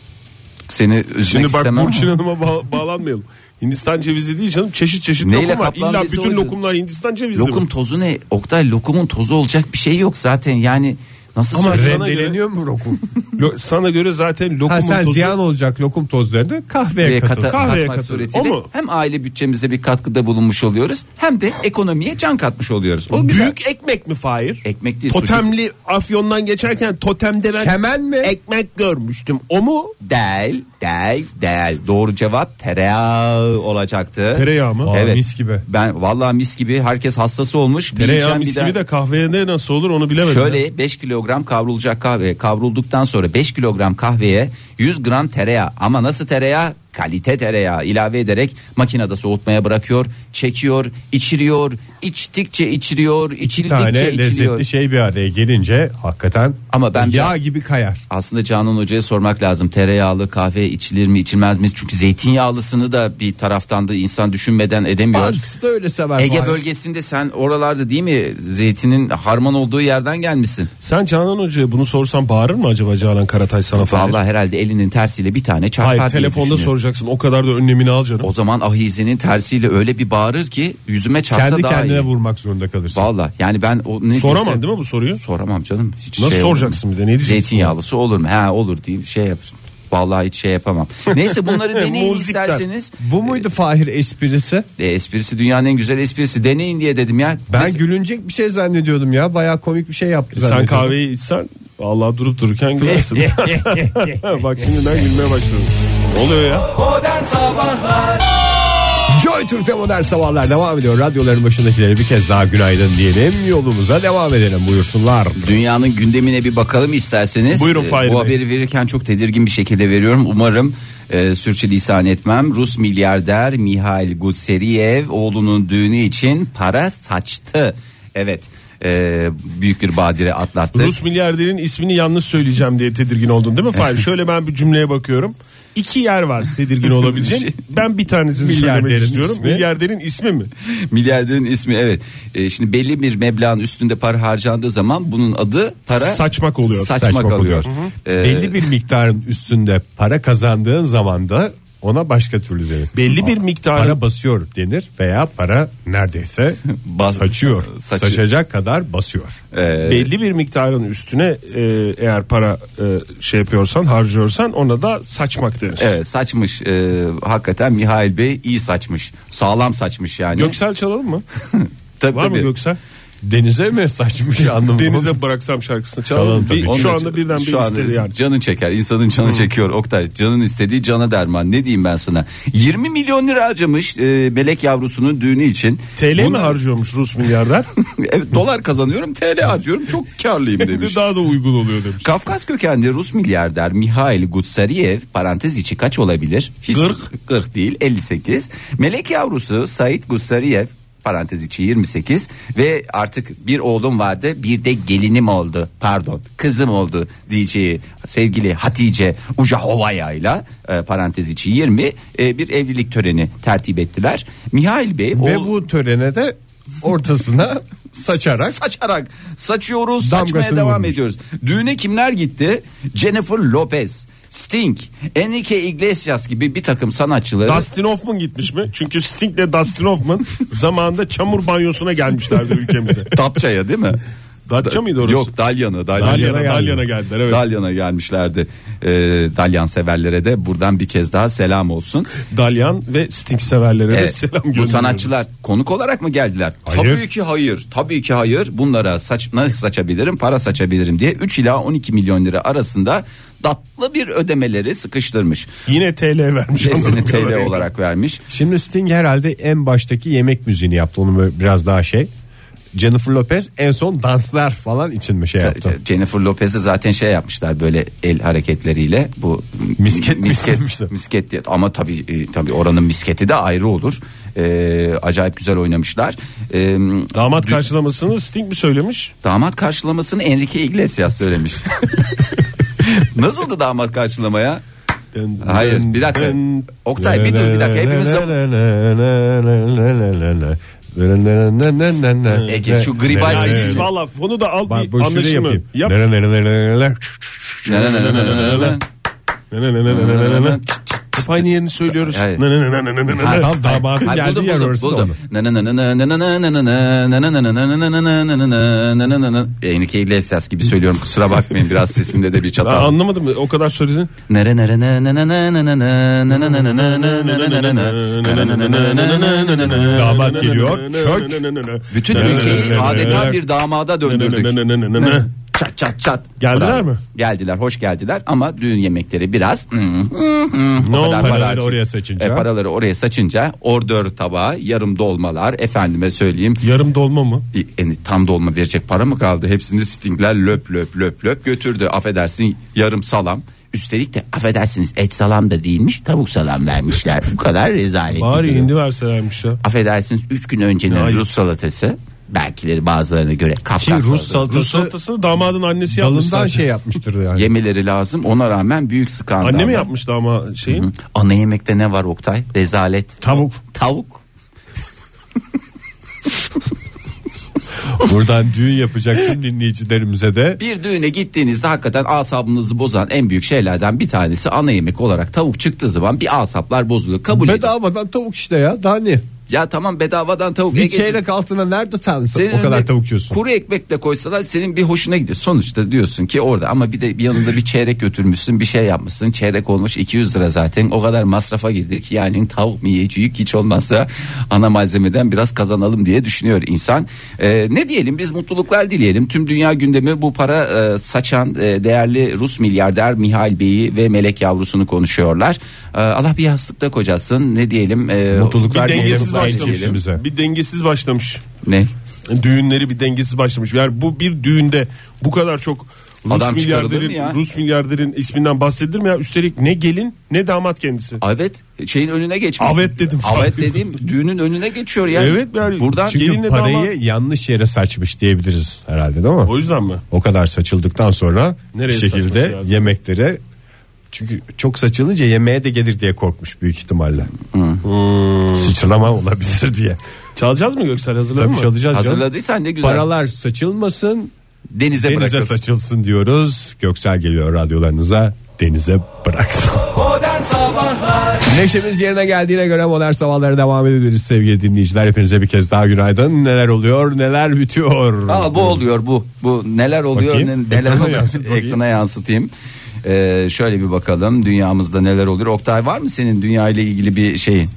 Seni üzmek
Şimdi bak
istemem.
Burçin Hanım'a ba- bağlanmayalım. Hindistan cevizi değil canım çeşit çeşit
Neyle
lokum var. İlla
kaplandıysa
bütün
oydu.
lokumlar Hindistan cevizi
Lokum
mi?
tozu ne? Oktay lokumun tozu olacak bir şey yok zaten. Yani nasıl
Ama
söyleyeyim?
sana göre-
Rendeleniyor mu lokum?
Lo- sana göre zaten lokumun
ha sen
tozu...
ziyan olacak lokum tozlarını kahveye
Ve kata-
katıl.
kahveye
katmak
katıl.
suretiyle
O mu?
hem aile bütçemize bir katkıda bulunmuş oluyoruz hem de ekonomiye can katmış oluyoruz. O güzel.
Büyük ekmek mi Fahir?
ekmek değil. sucuk
Totemli Afyon'dan geçerken totemde ben
Şemen mi?
ekmek görmüştüm. O mu?
Del, del, del. Doğru cevap tereyağı olacaktı.
Tereyağı mı?
Aa, mis gibi.
Ben vallahi mis gibi herkes hastası olmuş. Bir
Tereyağı
içen
mis
bir daha-
gibi de kahveye ne nasıl olur onu bilemedim. ya.
Şöyle 5 kilogram kavrulacak kahve kavrulduktan sonra 5 kilogram kahveye 100 gram tereyağı ama nasıl tereyağı kalite tereyağı ilave ederek makinede soğutmaya bırakıyor çekiyor içiriyor içtikçe içiriyor
Bir
içildikçe
tane
içiriyor.
lezzetli şey bir araya gelince hakikaten
Ama ben bir-
yağ gibi kayar.
Aslında Canan Hoca'ya sormak lazım tereyağlı kahve içilir mi içilmez mi çünkü zeytinyağlısını da bir taraftan da insan düşünmeden edemiyor.
Bazısı da öyle sever.
Ege
Fahir.
bölgesinde sen oralarda değil mi zeytinin harman olduğu yerden gelmişsin.
Sen Canan Hoca'ya bunu sorsan bağırır mı acaba Canan Karatay sana Fahir?
Vallahi herhalde elinin tersiyle bir tane çarpar
Hayır
diye
telefonda
düşünüyorum.
soracaksın o kadar da önlemini al canım.
O zaman ahizenin tersiyle öyle bir bağırır ki yüzüme çarpsa
Kendi
daha
kendine
iyi.
vurmak zorunda kalırsın.
Valla yani ben o ne
Soramam değil mi bu soruyu?
Soramam canım. Hiç
Nasıl
şey
soracaksın
olur mu?
bir de, ne diyeceksin?
Zeytinyağlısı olur mu? Ha olur diyeyim şey yapsın. Vallahi hiç şey yapamam. Neyse bunları deneyin
Muzikten.
isterseniz.
Bu muydu Fahir esprisi?
E, esprisi dünyanın en güzel esprisi. Deneyin diye dedim ya.
Ben
Biz-
gülünecek bir şey zannediyordum ya. Bayağı komik bir şey yaptı
Sen
zannediyordum.
kahveyi içsen Allah durup dururken gülersin. Bak şimdiden gülmeye başladım. Ne oluyor ya?
Joy Türk'te modern sabahlar devam ediyor. Radyoların başındakileri bir kez daha günaydın diyelim. Yolumuza devam edelim buyursunlar.
Dünyanın gündemine bir bakalım isterseniz.
Buyurun
Ee,
Fahir
Bu
Bey.
haberi verirken çok tedirgin bir şekilde veriyorum. Umarım e, sürçülisan etmem. Rus milyarder Mihail Gutseriyev oğlunun düğünü için para saçtı. Evet. e, büyük bir badire atlattı.
Rus milyarderin ismini yanlış söyleyeceğim diye tedirgin oldun değil mi Fahir? Şöyle ben bir cümleye bakıyorum. İki yer var tedirgin olabileceğin. Ben bir tanesini söylemek
Milyarderin
istiyorum.
ismi.
Milyarderin ismi mi?
Milyarderin ismi evet. E, şimdi belli bir meblağın üstünde para harcandığı zaman bunun adı para
Saçmak oluyor.
Saçmak,
Saçmak
oluyor.
oluyor.
E,
Belli bir miktarın üstünde para kazandığın zaman da ona başka türlü denir.
Belli bir miktarın-
para basıyor denir veya para neredeyse
Bas-
saçıyor.
saçıyor.
Saçacak kadar basıyor.
e,
Belli bir miktarın üstüne e, eğer para e, şey yapıyorsan harcıyorsan ona da saçmak denir.
Evet saçmış E, hakikaten Mihail Bey iyi saçmış sağlam saçmış yani.
Göksel çalalım mı?
Tabii,
Var mı
tabii.
Göksel?
Denize mi saçmış anlamı?
Denize bıraksam şarkısını
Çalalım
çalalım. Bir-
tabii.
şu
Onun
anda
için-
birden bir
şu anda
istedi yani.
Canın çeker. insanın canı çekiyor Oktay. Canın istediği cana derman. Ne diyeyim ben sana? 20 milyon lira harcamış e, melek yavrusunun düğünü için.
TL mi
Bunu-
harcıyormuş Rus milyarder?
evet, dolar kazanıyorum, TL harcıyorum. Çok karlıyım demiş.
Daha da uygun oluyor demiş.
Kafkas kökenli Rus milyarder Mihail Gutsariev parantez içi kaç olabilir? Hiç,
40.
40 değil 58. Melek yavrusu Said Gutsariev parantez içi 28 ve artık bir oğlum vardı bir de gelinim oldu pardon kızım oldu diyeceği sevgili Hatice Ujahovaya ile e, parantez içi 20 e, bir evlilik töreni tertip ettiler. Mihail Bey
Ve
oğul-
bu törene de ortasına saçarak
saçarak saçıyoruz saçmaya
Damgasını
devam
vurmuş.
ediyoruz. Düğüne kimler gitti? Jennifer Lopez, Sting, Enrique Iglesias gibi bir takım sanatçıları.
Dustin Hoffman gitmiş mi? Çünkü Sting ile Dustin Hoffman zamanında çamur banyosuna gelmişlerdi ülkemize.
Tapça'ya değil mi?
Datça mıydı orası?
Yok Dalyan'a. Dalyan'a,
Dalyan'a, Dalyan'a geldiler, evet.
Dalyan'a gelmişlerdi. Ee, Dalyan severlere de buradan bir kez daha selam olsun.
Dalyan ve Sting severlere de
Evet,
selam
bu
gönderiyorum.
sanatçılar konuk olarak mı geldiler?
Hayır.
Tabii ki hayır. Tabii ki hayır. Bunlara saç ne saçabilirim, para saçabilirim diye 3 ila 12 milyon lira arasında tatlı bir ödemeleri sıkıştırmış.
Yine TL vermiş.
Hepsini
anladığım
TL
kadarıyla.
olarak vermiş.
Şimdi Sting herhalde en baştaki yemek müziğini yaptı. Onu böyle biraz daha şey. Jennifer Lopez en son danslar falan için mi şey yaptı?
Ee, Jennifer Lopez'e zaten şey yapmışlar böyle el hareketleriyle bu
Misket mi
misket,
istemişler?
misket diye. ama tabii e, tabii oranın misketi de ayrı olur. Ee, acayip güzel oynamışlar. Ee,
Damat
dü-
karşılamasını Sting mi söylemiş?
damat karşılamasını Enrique Iglesias söylemiş. Nasıldı damat karşılamaya? Hayır bir dakika. Oktay bir dur bir dakika hepimiz Ege, şu gri
Ya
Ay,
siz
evet.
valla fonu da al
Bak
bir
bu şunu
anlaşımı.
yapayım.
Yap. Ne ne ne ne ne ne ne ne. Hep aynı yerini söylüyoruz.
Hayır.
Ne ne ne ne ne ne ne ne.
Tam damadın
Hayır,
geldiği
buldum,
yer
buldum,
orası da
buldum.
onu.
Enrique Iglesias gibi söylüyorum kusura bakmayın biraz sesimde de bir
Ben
çatal.
anlamadım o kadar söyledin.
Damat geliyor, çök.
Bütün ülkeyi adeta bir damada döndürdük. Çat çat çat.
Geldiler mi?
Geldiler, hoş geldiler ama düğün yemekleri biraz hmm, ne
oldu?
Paraları oraya saçınca.
E, paraları oraya saçınca ordör tabağı, yarım dolmalar, efendime söyleyeyim
Yarım dolma mı?
e, yani tam dolma verecek para mı kaldı? Hepsini stingler löp löp löp löp götürdü. Affedersin yarım salam. Üstelik de affedersiniz et salam da değilmiş tavuk salam vermişler. Bu kadar rezalet.
Bari
bir durum.
indi verselermiş ya.
Affedersiniz 3 gün öncenin
Hayır.
Rus salatası. Belkileri bazılarına göre Kafkas
Ki Rus
salatası.
salatası
Rus salatasını damadın annesi yapmış
dalından
zaten.
şey yapmıştır yani.
Yemeleri lazım ona rağmen büyük skandal.
Anne mi
var.
yapmıştı ama şeyi?
Ana yemekte ne var Oktay? Rezalet.
Tavuk.
Tavuk.
Buradan düğün yapacak tüm dinleyicilerimize de
Bir düğüne gittiğinizde hakikaten asabınızı bozan en büyük şeylerden bir tanesi ana yemek olarak tavuk çıktığı zaman bir asaplar bozuluyor. Kabul edin.
bedavadan tavuk işte ya. Daha ne?
Ya tamam bedavadan tavuk.
Bir
Ege'cim,
çeyrek altına nerede tanısın
senin
o kadar
önüne
tavuk yiyorsun.
Kuru ekmek de koysalar senin bir hoşuna gidiyor. Sonuçta diyorsun ki orada ama bir de bir yanında bir çeyrek götürmüşsün bir şey yapmışsın. Çeyrek olmuş 200 lira zaten o kadar masrafa girdik. Yani tavuk mu yiyecek hiç olmazsa ana malzemeden biraz kazanalım diye düşünüyor insan. Ee, ne diyelim biz mutluluklar dileyelim. Tüm dünya gündemi bu para e, saçan e, değerli Rus milyarder Mihail Bey'i ve Melek Yavrusunu konuşuyorlar. Ee, Allah bir yastıkta kocasın ne diyelim. e,
Mutluluklar
Bir dengesiz
dileyelim
başlamış.
dinleyicilerimize.
Bir dengesiz başlamış.
Ne?
düğünleri bir dengesiz başlamış. Yani bu bir düğünde bu kadar çok Rus
Adam çıkarılır
milyarderin
mı ya?
Rus milyarderin isminden bahsedilir mi ya? Üstelik ne gelin ne damat kendisi.
Evet şeyin önüne geçmiş.
Avet dedim.
Avet dediğim düğünün önüne geçiyor ya.
Evet, yani
Buradan
çünkü-
Çünkü
Gelinle
parayı
damat-
yanlış yere saçmış diyebiliriz herhalde değil mi?
O yüzden mi?
O kadar saçıldıktan sonra
Nereye
bir
saçması
şekilde
lazım?
yemeklere çünkü çok saçılınca yemeğe de gelir diye korkmuş büyük ihtimalle. Sıçrama olabilir diye.
Çalacağız mı Göksel hazırladın
Tabii
mı?
çalacağız canım.
hazırladıysan ne güzel.
Paralar saçılmasın,
denize,
denize
bırakırsın.
saçılsın diyoruz. Göksel geliyor radyolarınıza. Denize bıraksın. Neşemiz yerine geldiğine göre modern sabahlara devam edebiliriz sevgili dinleyiciler. Hepinize bir kez daha günaydın. Neler oluyor, neler bitiyor.
Aa, bu oluyor bu. Bu neler oluyor
Bakayım.
ne- neler
Ekrana
oluyor.
yansıt bakayım.
Ekrana yansıtayım. Ee, şöyle bir bakalım dünyamızda neler oluyor. Oktay var mı senin dünya ile ilgili bir şeyin?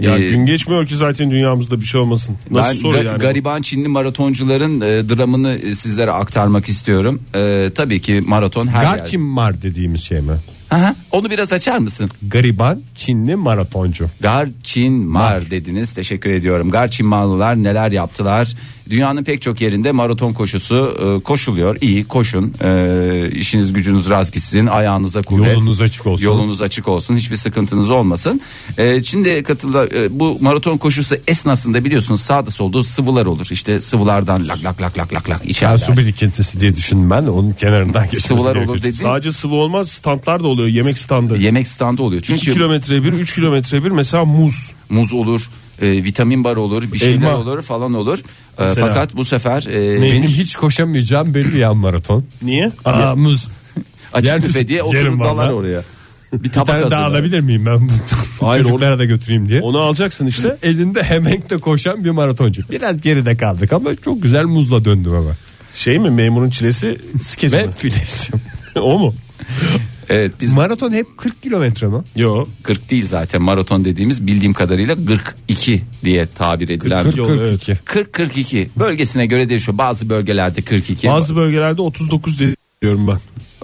Ya
Ee,
gün geçmiyor ki zaten dünyamızda bir şey olmasın. Nasıl
ben
soru
ga-
yani?
gariban Çinli maratoncuların e, dramını e, sizlere aktarmak istiyorum. Ee, tabii ki maraton her yerde.
Garçin Mar dediğimiz şey mi?
Aha, Onu biraz açar mısın?
Gariban Çinli maratoncu.
Garçin Mar dediniz. Teşekkür ediyorum. Garçin Marlılar neler yaptılar? Dünyanın pek çok yerinde maraton koşusu e, koşuluyor. İyi koşun. E, işiniz gücünüz rast gitsin. Ayağınıza kuvvet.
Yolunuz açık olsun.
Yolunuz açık olsun. Hiçbir sıkıntınız olmasın. E, Çin'de katıldı e, bu maraton koşusu esnasında biliyorsunuz sağda solda sıvılar olur. İşte sıvılardan lak lak lak lak lak lak
Ben
içerler.
su birikintisi diye düşündüm ben. Onun kenarından geçmesi
Sıvılar
gerekiyor.
olur dedi.
Sadece sıvı olmaz standlar da oluyor yemek standı.
Yemek standı oluyor.
2
Çünkü
kilometre bir 3 kilometre bir mesela muz.
muz olur, e, vitamin bar olur, bir şeyler
Elma.
olur falan olur. E,
Mesela.
fakat bu sefer e,
Benim hiç koşamayacağım belli ya maraton.
Niye?
Aa, muz.
Açık
Yer
büfe
misin?
diye
Yerim
oturup dalar
vallahi.
oraya. Bir
Bir
tabak
tane daha
hazırlar.
alabilir miyim ben bunu?
Hayır,
Çocuklara da götüreyim diye.
Onu alacaksın işte.
Elinde hemenkte koşan bir maratoncu. Biraz geride kaldık ama çok güzel muzla döndüm ama.
Şey mi memurun çilesi skeci
Ve
mi?
filizim.
o mu?
Evet biz
Maraton hep 40 kilometre mi?
Yo.
40 değil zaten maraton dediğimiz bildiğim kadarıyla 42 diye tabir edilen. 40
40
Yok, evet.
42.
40 42 bölgesine göre değişiyor. Bazı bölgelerde 42.
Bazı bölgelerde 39 dedi diyorum ben.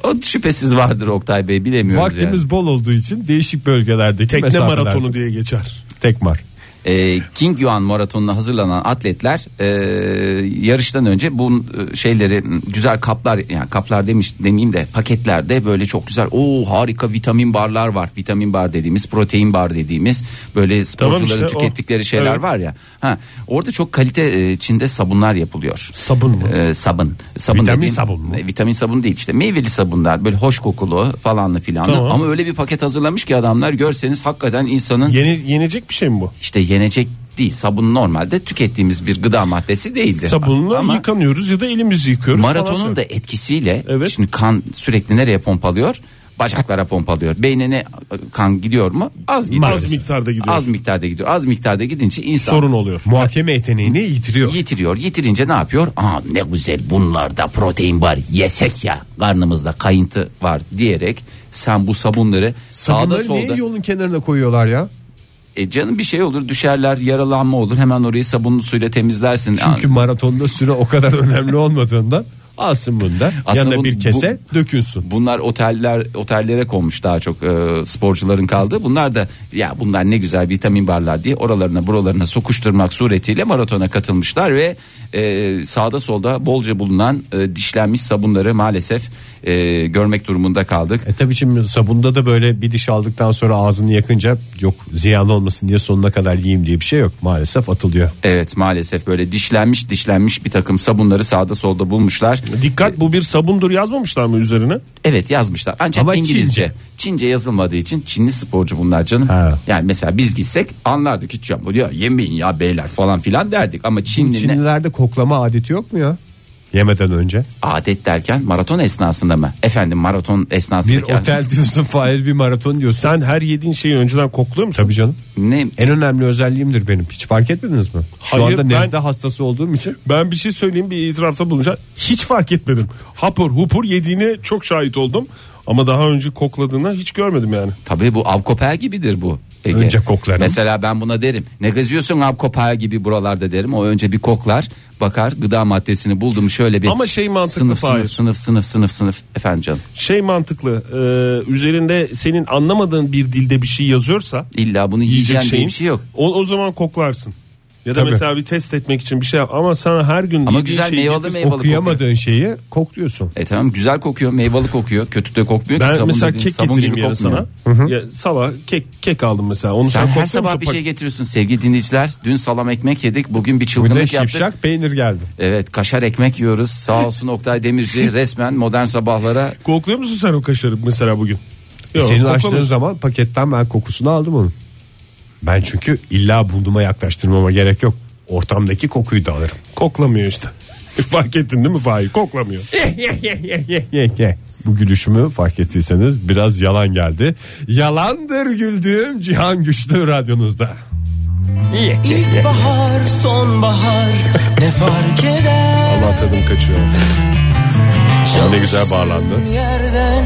o şüphesiz vardır Oktay Bey bilemiyoruz
Vaktimiz
yani.
bol olduğu için değişik bölgelerdeki
Tekne
mesafelerde.
maratonu diye geçer.
Tekmar.
Ee, King Yuan maratonuna hazırlanan atletler e, yarıştan önce bu e, şeyleri m, güzel kaplar yani kaplar demiş demeyeyim de paketlerde böyle çok güzel o harika vitamin barlar var. Vitamin bar dediğimiz, protein bar dediğimiz böyle sporcuların
işte o.
tükettikleri şeyler
Evet.
var ya. Ha orada çok kalite e, Çin'de sabunlar yapılıyor.
Sabun mu?
Ee, sabun. sabun
Vitamin sabun mu?
e, Vitamin sabun değil işte meyveli sabunlar böyle hoş kokulu falanlı filanlı
Tamam.
ama öyle bir paket hazırlamış ki adamlar görseniz hakikaten insanın
Yeni yenecek bir şey mi bu?
işte yenecek değil. Sabun normalde tükettiğimiz bir gıda maddesi değildir.
Sabunla
Ama-
yıkanıyoruz ya da elimizi yıkıyoruz.
Maratonun
falan.
da etkisiyle
Evet.
şimdi kan sürekli nereye pompalıyor? Bacaklara pompalıyor. Beynine e, kan gidiyor mu? Az gidiyor.
Az miktarda gidiyor.
Az miktarda gidiyor. Az miktarda gidince insan
sorun oluyor.
Muhakeme yeteneğini yitiriyor.
yitiriyor. Yitirince ne yapıyor? Aa ne güzel bunlarda protein var. Yesek ya. Karnımızda kayıntı var diyerek sen bu sabunları sağda
Sabunları
solda
niye yolun kenarına koyuyorlar ya?
E canım bir şey olur düşerler yaralanma olur hemen orayı sabunlu suyla temizlersin.
Çünkü maratonda süre o kadar önemli olmadığından alsın bunu da
Aslında
yanına
bu-
bir kese dökünsün.
Bunlar oteller otellere konmuş daha çok e, sporcuların kaldığı. Bunlar da ya bunlar ne güzel vitamin barlar diye oralarına buralarına sokuşturmak suretiyle maratona katılmışlar ve e, sağda solda bolca bulunan e, dişlenmiş sabunları maalesef e, görmek durumunda kaldık.
E tabii şimdi sabunda da böyle bir diş aldıktan sonra ağzını yakınca yok ziyan olmasın diye sonuna kadar yiyeyim diye bir şey yok. Maalesef atılıyor.
Evet maalesef böyle dişlenmiş dişlenmiş bir takım sabunları sağda solda bulmuşlar.
Dikkat bu bir sabundur yazmamışlar mı üzerine?
Evet yazmışlar ancak
Ama
İngilizce. Çince.
Çince.
yazılmadığı için Çinli sporcu bunlar canım.
Ha.
Yani mesela biz gitsek anlardık hiç ya bu diyor yemeyin ya beyler falan filan derdik ama Çinli ne-
Çinlilerde koklama adeti yok mu ya? Yemeden önce.
adet derken maraton esnasında mı? Efendim maraton esnasında
Bir otel diyorsun Fahir bir maraton diyorsun.
Sen her yediğin şeyi önceden kokluyor musun?
Tabii canım.
ne E,
En önemli özelliğimdir benim. Hiç fark etmediniz mi? Şu
Hayır,
anda
ben-
nezle hastası olduğum için.
Ben bir şey söyleyeyim bir itirafta bulunacağım. Hiç fark etmedim. Hapur hupur yediğine çok şahit oldum. Ama daha önce kokladığına hiç görmedim yani.
Tabii bu av kopağı gibidir bu. Ege.
Önce koklarım.
Mesela ben buna derim. Ne geziyorsun av kopağı gibi buralarda derim. O önce bir koklar bakar gıda maddesini buldum şöyle bir.
Ama şey mantıklı
sınıf,
Fahir.
sınıf sınıf sınıf sınıf sınıf. Efendim canım
Şey mantıklı e, üzerinde senin anlamadığın bir dilde bir şey yazıyorsa
illa bunu
yiyecek
yiyeceğin diye
şeyin
bir şey yok.
O, o zaman koklarsın. Ya da
Tabii.
mesela bir test etmek için bir şey yap. Ama sana her gün
Ama
yediğin
güzel
şeyi
meyveli
getirsin.
meyveli kokuyor.
Okuyamadığın şeyi kokluyorsun.
E tamam güzel kokuyor meyvalı kokuyor kötü de kokmuyor ki
Ben
sabun
mesela
dediğin
kek
sabun
getireyim
gibi
yarın
kokmuyor.
sana. Ya, sabah kek kek aldım mesela. Onu
Sen
sen,
her
kokluyor
sabah
musun?
bir
Bak-
şey getiriyorsun sevgili dinleyiciler. Dün salam ekmek yedik bugün bir
Bu ne
çılgınlık yaptık.
şipşak peynir geldi.
Evet kaşar ekmek yiyoruz sağ olsun Oktay Demirci resmen modern sabahlara.
Kokluyor musun sen o kaşarı mesela bugün?
E,
Yok,
Senin
koklamıyorum.
açtığın zaman paketten ben kokusunu aldım onun. Ben çünkü illa bulduğuma yaklaştırmama gerek yok. Ortamdaki kokuyu da alırım.
Koklamıyor işte. Fark ettin değil mi Fahir? Koklamıyor.
Bu gülüşümü fark ettiyseniz biraz yalan geldi. Yalandır güldüğüm Cihan Güçlü radyonuzda.
İlkbahar, sonbahar ne fark eder?
Allah tadım kaçıyor. Ama ne güzel bağlandı.
Yerden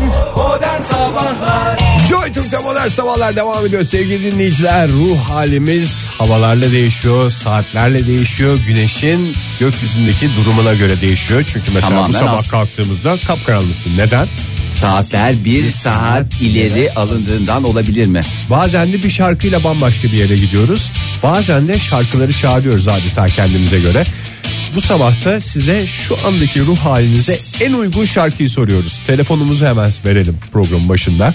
Joy Türk'te modern sabahlar devam ediyor sevgili dinleyiciler. Ruh halimiz havalarla değişiyor, saatlerle değişiyor, güneşin gökyüzündeki durumuna göre değişiyor. Çünkü mesela bu
Tamamen
sabah
az-
kalktığımızda kapkaranlıktı. Neden?
Saatler bir saat ileri alındığından olabilir mi?
Bazen de bir şarkıyla bambaşka bir yere gidiyoruz. Bazen de şarkıları çağırıyoruz adeta kendimize göre. Bu sabahta size şu andaki ruh halinize en uygun şarkıyı soruyoruz. Telefonumuzu hemen verelim programın başında.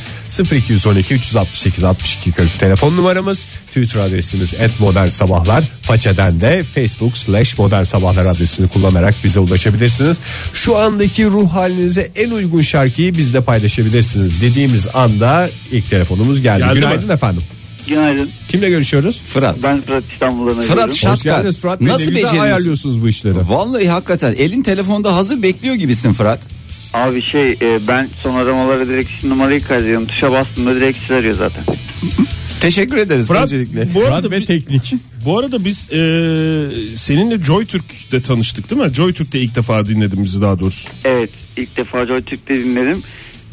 0212 368 62 40 telefon numaramız. Twitter adresimiz et modern sabahlar. Façeden de facebook slash modern sabahlar adresini kullanarak bize ulaşabilirsiniz. Şu andaki ruh halinize en uygun şarkıyı bizle paylaşabilirsiniz dediğimiz anda ilk telefonumuz geldi.
Geldi
Günaydın efendim.
Günaydın.
Kimle görüşüyoruz?
Fırat.
Ben Fırat İstanbul'dan arıyorum.
Fırat Şatkan.
geldiniz Fırat Bey. Ne
Nasıl
güzel
beceriyorsun?
ayarlıyorsunuz bu işleri?
Vallahi hakikaten elin telefonda hazır bekliyor gibisin Fırat.
Abi şey e, ben son aramalara direkt sizin numarayı kaydediyorum. Tuşa bastığımda direkt sizi arıyor zaten.
Teşekkür ederiz
Fırat,
öncelikle.
bu
Fırat
arada,
ve
bi-
teknik.
bu arada biz e, seninle Joy Türk'te tanıştık değil mi? Joy Türk'te ilk defa dinledim bizi daha doğrusu.
Evet ilk defa Joy Türk'te dinledim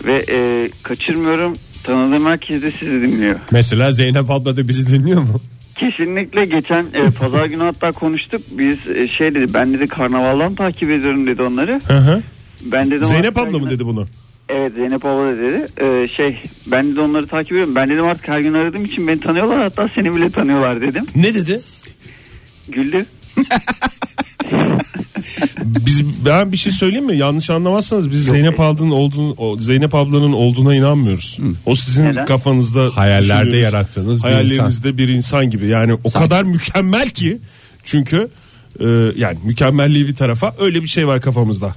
ve e, kaçırmıyorum. Tanıdığım herkes de sizi dinliyor.
Mesela Zeynep abla da bizi dinliyor mu?
Kesinlikle geçen e, pazar günü hatta konuştuk. Biz e, şey dedi ben dedi karnavaldan takip ediyorum dedi onları. Ben dedim
Zeynep
"Artık
abla
her
mı
gün-
dedi bunu?
Evet Zeynep abla da dedi. E, şey ben de onları takip ediyorum. Ben dedim artık her gün aradığım için beni tanıyorlar hatta seni bile tanıyorlar dedim.
Ne dedi?
Güldü.
Biz ben bir şey söyleyeyim mi? Yanlış anlamazsanız biz Zeynep ablanın olduğunu o Zeynep ablanın olduğuna inanmıyoruz. O sizin
Neden?
kafanızda
Hayallerde
düşünüyoruz.
yarattığınız bir
hayallerinizde bir insan gibi. Yani o kadar mükemmel ki çünkü e, yani mükemmelliği bir tarafa öyle bir şey var kafamızda.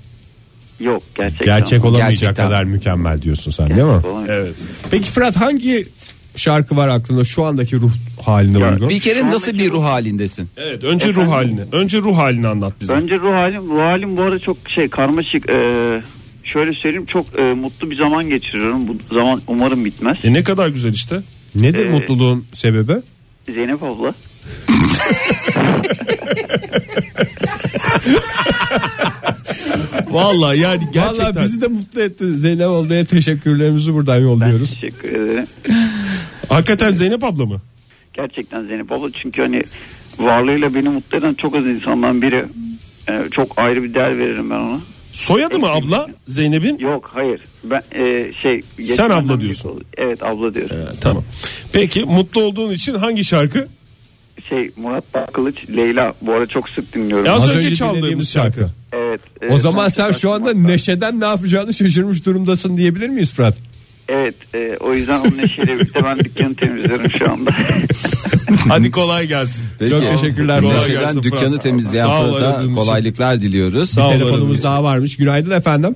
Yok gerçekten.
Gerçek olamayacak
Gerçekten.
kadar mükemmel diyorsun sen değil mi?
Olamıyor.
Evet.
Peki Fırat hangi şarkı var aklında şu andaki ruh halinde
Ya,
uygun?
Bir kere nasıl bir ruh halindesin?
Evet önce ruh halini. Önce ruh halini anlat bize.
Önce ruh halim, ruh halim bu arada çok şey karmaşık. Ee, şöyle söyleyeyim çok e, mutlu bir zaman geçiriyorum. Bu zaman umarım bitmez.
E ne kadar güzel işte.
Nedir mutluluğun sebebi?
Zeynep abla.
Vallahi yani gerçekten.
Vallahi bizi
bizi de mutlu etti. Zeynep ablaya teşekkürlerimizi buradan yolluyoruz.
Teşekkür ederim.
Hakikaten Zeynep abla mı?
Gerçekten Zeynep abla çünkü hani varlığıyla beni mutlu eden çok az insandan biri. Ee, çok ayrı bir değer veririm ben ona.
Soyadı mı abla Zeynep'in?
Yok hayır. Ben e, şey
Sen abla
geçmeden
diyorsun.
büyük oldu. Evet abla diyorum.
Ee, tamam. Peki mutlu olduğun için hangi şarkı?
Şey Murat Bakkılıç Leyla bu ara çok sık dinliyorum.
Ya- Az
Az,
önce
önce,
çaldığımız
dinlediğimiz
şarkı.
şarkı.
Evet. e,
O
evet,
zaman
Murat
sen şu anda
Bakkılıç.
neşeden ne yapacağını şaşırmış durumdasın diyebilir miyiz Fırat?
Evet e, o yüzden onun neşeyle birlikte ben dükkanı temizliyorum şu anda.
Hadi kolay gelsin.
Peki.
Çok teşekkürler.
Kolay
Neşeden
gelsin
Neşeden dükkanı
Fırat.
temizleyen
Sağ ol aradığın
Fırat'a
için.
kolaylıklar diliyoruz.
Sağ ol aradığın
Telefonumuz
için.
daha varmış. Günaydın efendim.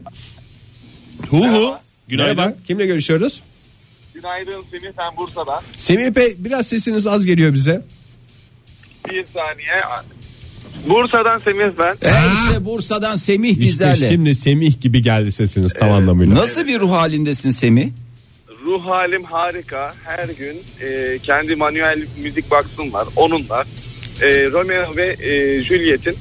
Hu hu. Günaydın.
Merhaba. Kimle görüşüyoruz?
Günaydın Semih ben Bursa'dan.
Semih Bey biraz sesiniz az geliyor bize.
Bir saniye. Bursa'dan Semih ben.
E işte Bursa'dan Semih
İşte
bizlerle. Ee,
şimdi Semih gibi geldi sesiniz tam anlamıyla.
Nasıl bir ruh halindesin Semih?
Ruh halim harika. Her gün e, kendi manuel müzik box'ım var. Onunla e, Romeo ve e, Juliet'in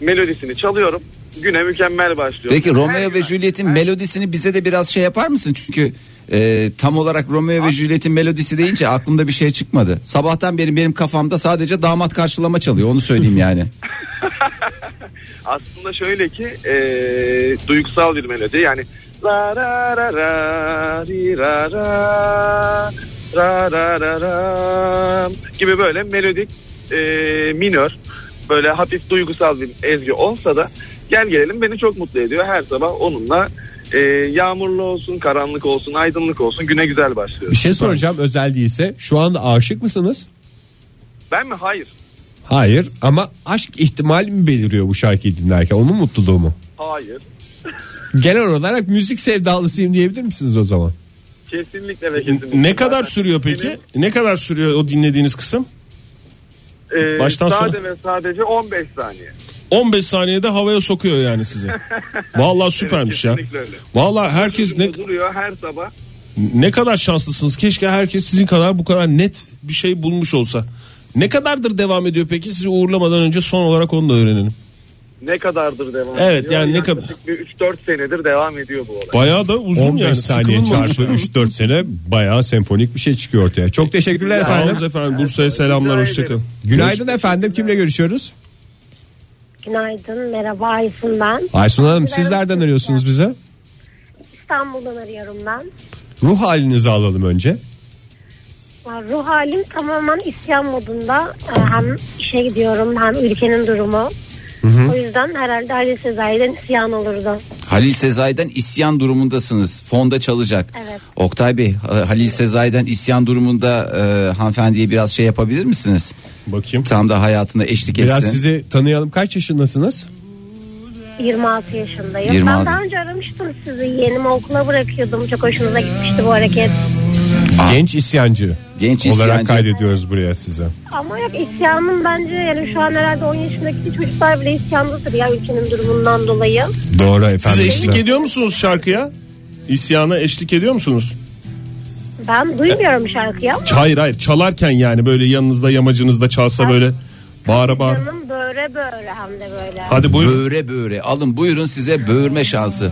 melodisini çalıyorum. Güne mükemmel başlıyorum.
Peki
Her
Romeo ve
gün-
Juliet'in melodisini bize de biraz şey yapar mısın? Çünkü e, tam olarak Romeo ve Juliet'in melodisi deyince aklımda bir şey çıkmadı. Sabahtan beri benim kafamda sadece damat karşılama çalıyor onu söyleyeyim yani.
Aslında şöyle ki e, duygusal bir melodi yani la ra ra ra ri ra ra ra ra ra ra gibi böyle melodik e, minör böyle hafif duygusal bir ezgi olsa da gel gelelim beni çok mutlu ediyor her sabah onunla e, yağmurlu olsun karanlık olsun aydınlık olsun güne güzel
Bir
başlıyoruz.
şey soracağım özel değilse. Şu anda aşık mısınız?
Ben mi? Hayır.
Hayır ama aşk ihtimali mi beliriyor bu şarkıyı dinlerken? Onun mutluluğu mu?
Hayır.
Genel olarak müzik sevdalısıyım diyebilir misiniz o zaman?
Kesinlikle ve kesinlikle.
E, Ne kadar
Zaten
sürüyor peki? Ne kadar sürüyor o dinlediğiniz kısım?
benim, e,
Baştan sona.
sade ve sadece 15 saniye.
15 saniyede havaya sokuyor yani sizi. Vallahi süpermiş ya.
kesinlikle öyle.
Vallahi herkes ne
duruyor her sabah.
ne kadar şanslısınız. Keşke herkes sizin kadar bu kadar net bir şey bulmuş olsa. Ne kadardır devam ediyor peki? Sizi uğurlamadan önce son olarak onu da öğrenelim.
Ne kadardır devam ediyor?
Evet, yani ne
Yaklaşık bir 3-4 senedir devam ediyor bu olay.
Bayağı da uzun
15
yani.
saniye
sıkılmamış.
çarpı 3-4 sene bayağı senfonik bir şey çıkıyor ortaya. Çok teşekkürler
Sağ olun
efendim.
efendim. Bursa'ya selamlar.
Rica
Hoşçakalın.
ederim.
Günaydın efendim. Kimle görüşüyoruz?
Günaydın, merhaba Aysun ben.
Aysun Hanım sizlerden arıyorsunuz bize.
İstanbul'dan arıyorum ben.
Ruh halinizi alalım önce.
Ruh halim tamamen isyan modunda. Ee, Hem işe gidiyorum hem ülkenin durumu. O yüzden herhalde Ali Sezai'den isyan olurdu.
Halil Sezai'den isyan durumundasınız. Fonda çalacak.
Evet.
Oktay Bey ha- Halil Sezai'den isyan durumunda e, hanımefendiye biraz şey yapabilir misiniz?
Bakayım.
Tam da hayatında eşlik etsin.
Biraz sizi tanıyalım. Kaç yaşındasınız?
26 yaşındayım. Ben
26.
daha önce aramıştım sizi. Yeğenimi okula bırakıyordum. Çok hoşunuza gitmişti bu hareket.
Genç isyancı.
Genç
Olarak
isyancı.
kaydediyoruz buraya size.
Ama yok isyanım bence yani şu an herhalde 10 yaşındaki çocuklar bile isyandadır ya ülkenin durumundan dolayı.
Doğru
Siz
efendim.
eşlik ediyor musunuz şarkıya? İsyana eşlik ediyor musunuz?
Ben duymuyorum şarkıyı ama
Hayır hayır çalarken yani böyle yanınızda yamacınızda çalsa böyle bağıra bağıra.
canım böyle böyle hem de böyle.
Hadi buyurun.
Böğre böğre alın buyurun size böğürme şansı.